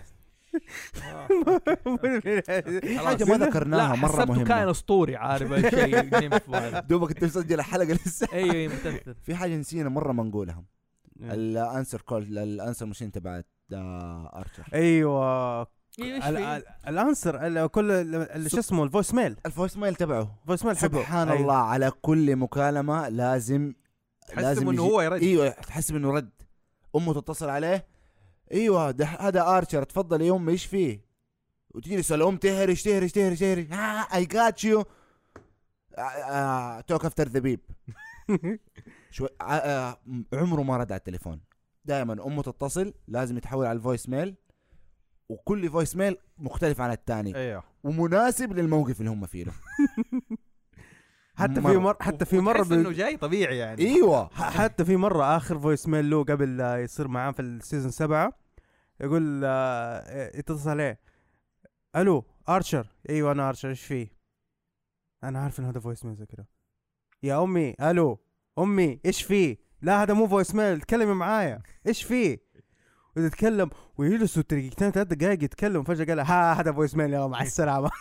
Speaker 2: آه.
Speaker 3: مدمنة.
Speaker 1: في حاجه ما ذكرناها
Speaker 2: لا
Speaker 1: مره
Speaker 2: حسبته كائن
Speaker 1: مهمه
Speaker 2: اسطوري عارف الشيء نمف وهذا.
Speaker 1: دوبك انت مسجل الحلقه لسه
Speaker 2: ايوه أيوة، متأثر
Speaker 1: في حاجه نسينا مره ما نقولها الانسر كول الانسر مشين تبعت آه، ارشر
Speaker 3: ايوه
Speaker 2: ايوه ايش
Speaker 3: ال-
Speaker 2: في؟
Speaker 3: ال- الانسر ال- كل ال- ال- شو اسمه الفويس ميل
Speaker 1: الفويس ميل تبعه
Speaker 3: فويس ميل حقه
Speaker 1: سبحان
Speaker 3: أيوة.
Speaker 1: الله على كل مكالمه لازم
Speaker 4: تحسب
Speaker 1: لازم
Speaker 4: انه
Speaker 1: يجي-
Speaker 4: هو يرد
Speaker 1: ايوه تحسب انه رد امه تتصل عليه ايوه ده هذا ارشر تفضل يا امي ايش فيه؟ وتجلس الام تهرش تهرش تهرش تهرش آه، اي جات يو آه، توك افتر ذا بيب شوي آه، آه، عمره ما رد على التليفون دائما امه تتصل لازم يتحول على الفويس ميل وكل فويس ميل مختلف عن الثاني
Speaker 4: ايوه
Speaker 1: ومناسب للموقف اللي هم فيه له
Speaker 3: حتى في
Speaker 1: مرة.
Speaker 3: مر حتى في مره
Speaker 4: تحس انه
Speaker 3: بي...
Speaker 4: جاي طبيعي يعني
Speaker 1: ايوه
Speaker 3: ح- حتى في مره اخر فويس ميل له قبل لا يصير معاه في السيزون سبعة يقول آه، يتصل عليه الو ارشر ايوه انا ارشر ايش فيه؟ انا عارف ان هذا فويس ميل زي كده يا امي الو امي ايش فيه؟ لا هذا مو فويس ميل تكلمي معايا ايش فيه؟ وتتكلم ويجلسوا دقيقتين ثلاث دقائق يتكلم فجاه قال ها هذا فويس ميل يلا مع السلامه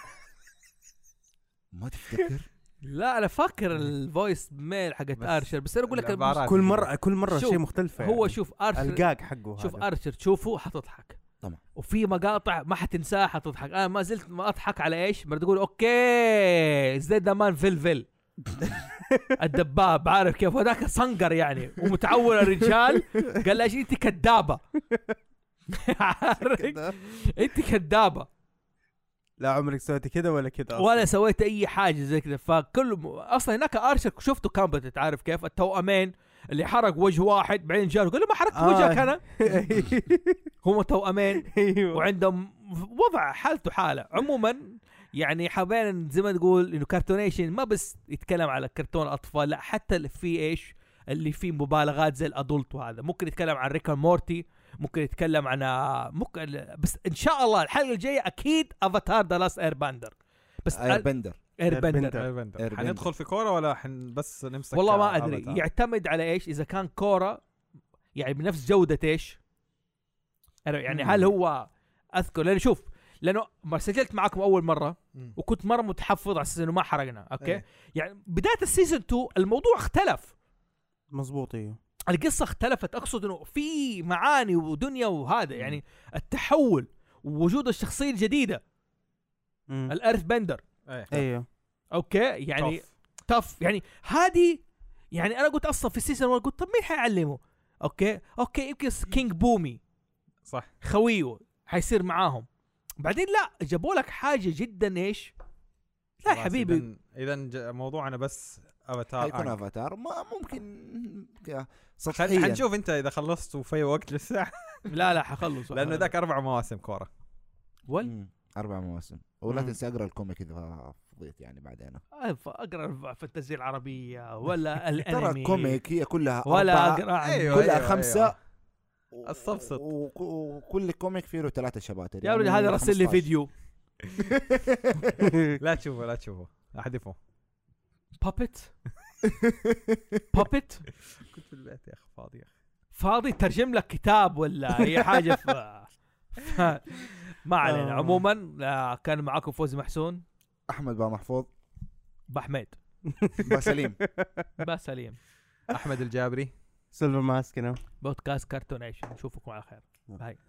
Speaker 1: ما تفتكر
Speaker 2: لا انا فاكر الفويس ميل حقت
Speaker 4: بس
Speaker 2: ارشر بس انا اقول لك
Speaker 4: العبارات
Speaker 3: كل مره كل مره
Speaker 2: شوف،
Speaker 3: شيء مختلف يعني.
Speaker 2: هو شوف ارشر
Speaker 3: القاق حقه
Speaker 2: شوف
Speaker 3: هذا.
Speaker 2: ارشر تشوفه حتضحك
Speaker 1: طبعاً.
Speaker 2: وفي مقاطع ما حتنساها حتضحك انا ما زلت ما اضحك على ايش؟ ما تقول اوكي زي دمان فلفل الدباب عارف كيف هذاك صنقر يعني ومتعور الرجال قال لها ايش انت كدابه عارف انت كدابه
Speaker 3: لا عمرك سويتي كذا ولا كذا
Speaker 2: ولا سويت اي حاجه زي كذا فكل م- اصلا هناك ارشر شفته كامبتنت عارف كيف التوأمين اللي حرق وجه واحد بعدين جاء قال له ما حرقت
Speaker 3: آه.
Speaker 2: وجهك انا
Speaker 3: أصلاً.
Speaker 2: هم توأمين
Speaker 3: ايوه
Speaker 2: وعندهم وضع حالته حاله عموما يعني حابين زي ما تقول انه كرتونيشن ما بس يتكلم على كرتون اطفال لا حتى اللي فيه ايش اللي فيه مبالغات زي الادولت وهذا ممكن يتكلم عن ريكا مورتي ممكن يتكلم عن آه، ممكن بس ان شاء الله الحلقه الجايه اكيد افاتار ذا لاست اير باندر بس
Speaker 1: اير آه، بندر
Speaker 2: اير
Speaker 3: Airbender.
Speaker 2: باندر
Speaker 4: Airbender.
Speaker 1: Airbender.
Speaker 4: حندخل في كوره ولا حن بس نمسك
Speaker 2: والله ما يعني ادري
Speaker 4: أبدا.
Speaker 2: يعتمد على ايش اذا كان كوره يعني بنفس جوده ايش أنا يعني
Speaker 4: مم.
Speaker 2: هل هو اذكر لانه شوف لانه ما سجلت معكم اول مره
Speaker 4: مم.
Speaker 2: وكنت مره متحفظ على اساس انه ما حرقنا اوكي
Speaker 4: إيه.
Speaker 2: يعني بدايه السيزون 2 الموضوع اختلف
Speaker 3: مزبوط ايوه
Speaker 2: القصه اختلفت اقصد انه في معاني ودنيا وهذا يعني التحول ووجود الشخصيه الجديده
Speaker 3: مم.
Speaker 2: الارث بندر
Speaker 4: ايه
Speaker 3: ايوه
Speaker 2: اوكي يعني
Speaker 4: Tough.
Speaker 2: تف يعني هذه يعني انا قلت اصلا في السيزون 1 قلت طب مين حيعلمه؟ اوكي اوكي يمكن كينج بومي
Speaker 4: صح
Speaker 2: خويه حيصير معاهم بعدين لا جابوا لك حاجه جدا ايش؟ لا يا حبيبي
Speaker 4: اذا موضوعنا بس
Speaker 1: حيكون
Speaker 4: افاتار
Speaker 1: افاتار ما ممكن كده سطحيا
Speaker 4: حنشوف انت اذا خلصت وفي وقت للساعه
Speaker 2: لا لا حخلص
Speaker 4: لانه ذاك اربع مواسم كوره
Speaker 2: ول
Speaker 1: مم. اربع مواسم ولا
Speaker 3: مم.
Speaker 1: تنسى اقرا الكوميك اذا فضيت يعني بعدين
Speaker 2: اقرا الفانتازيا العربيه ولا
Speaker 1: ترى
Speaker 2: الانمي
Speaker 1: الكوميك هي كلها
Speaker 2: ولا
Speaker 1: أربعة-
Speaker 2: اقرا عن-
Speaker 4: أيوة،
Speaker 1: كلها
Speaker 4: أيوة،
Speaker 1: خمسه و-
Speaker 4: الصفصط.
Speaker 1: و- وكل كوميك فيه له ثلاثه شباتر
Speaker 2: يا ولد
Speaker 1: يعني
Speaker 2: هذا راسل لي
Speaker 1: 15.
Speaker 2: فيديو
Speaker 4: لا تشوفه لا تشوفه احذفه
Speaker 2: بابت بابت
Speaker 4: كنت في البيت يا اخي فاضي يا اخي
Speaker 2: فاضي ترجم لك كتاب ولا اي حاجه ف... ف- ما علينا
Speaker 3: آه.
Speaker 2: عموما آه، كان معاكم فوزي محسون
Speaker 1: احمد با محفوظ
Speaker 2: بحميد
Speaker 1: با سليم
Speaker 2: بس سليم
Speaker 4: احمد الجابري
Speaker 3: سيلفر ماسك نعم. هنا
Speaker 2: بودكاست كرتون ايش نشوفكم على خير باي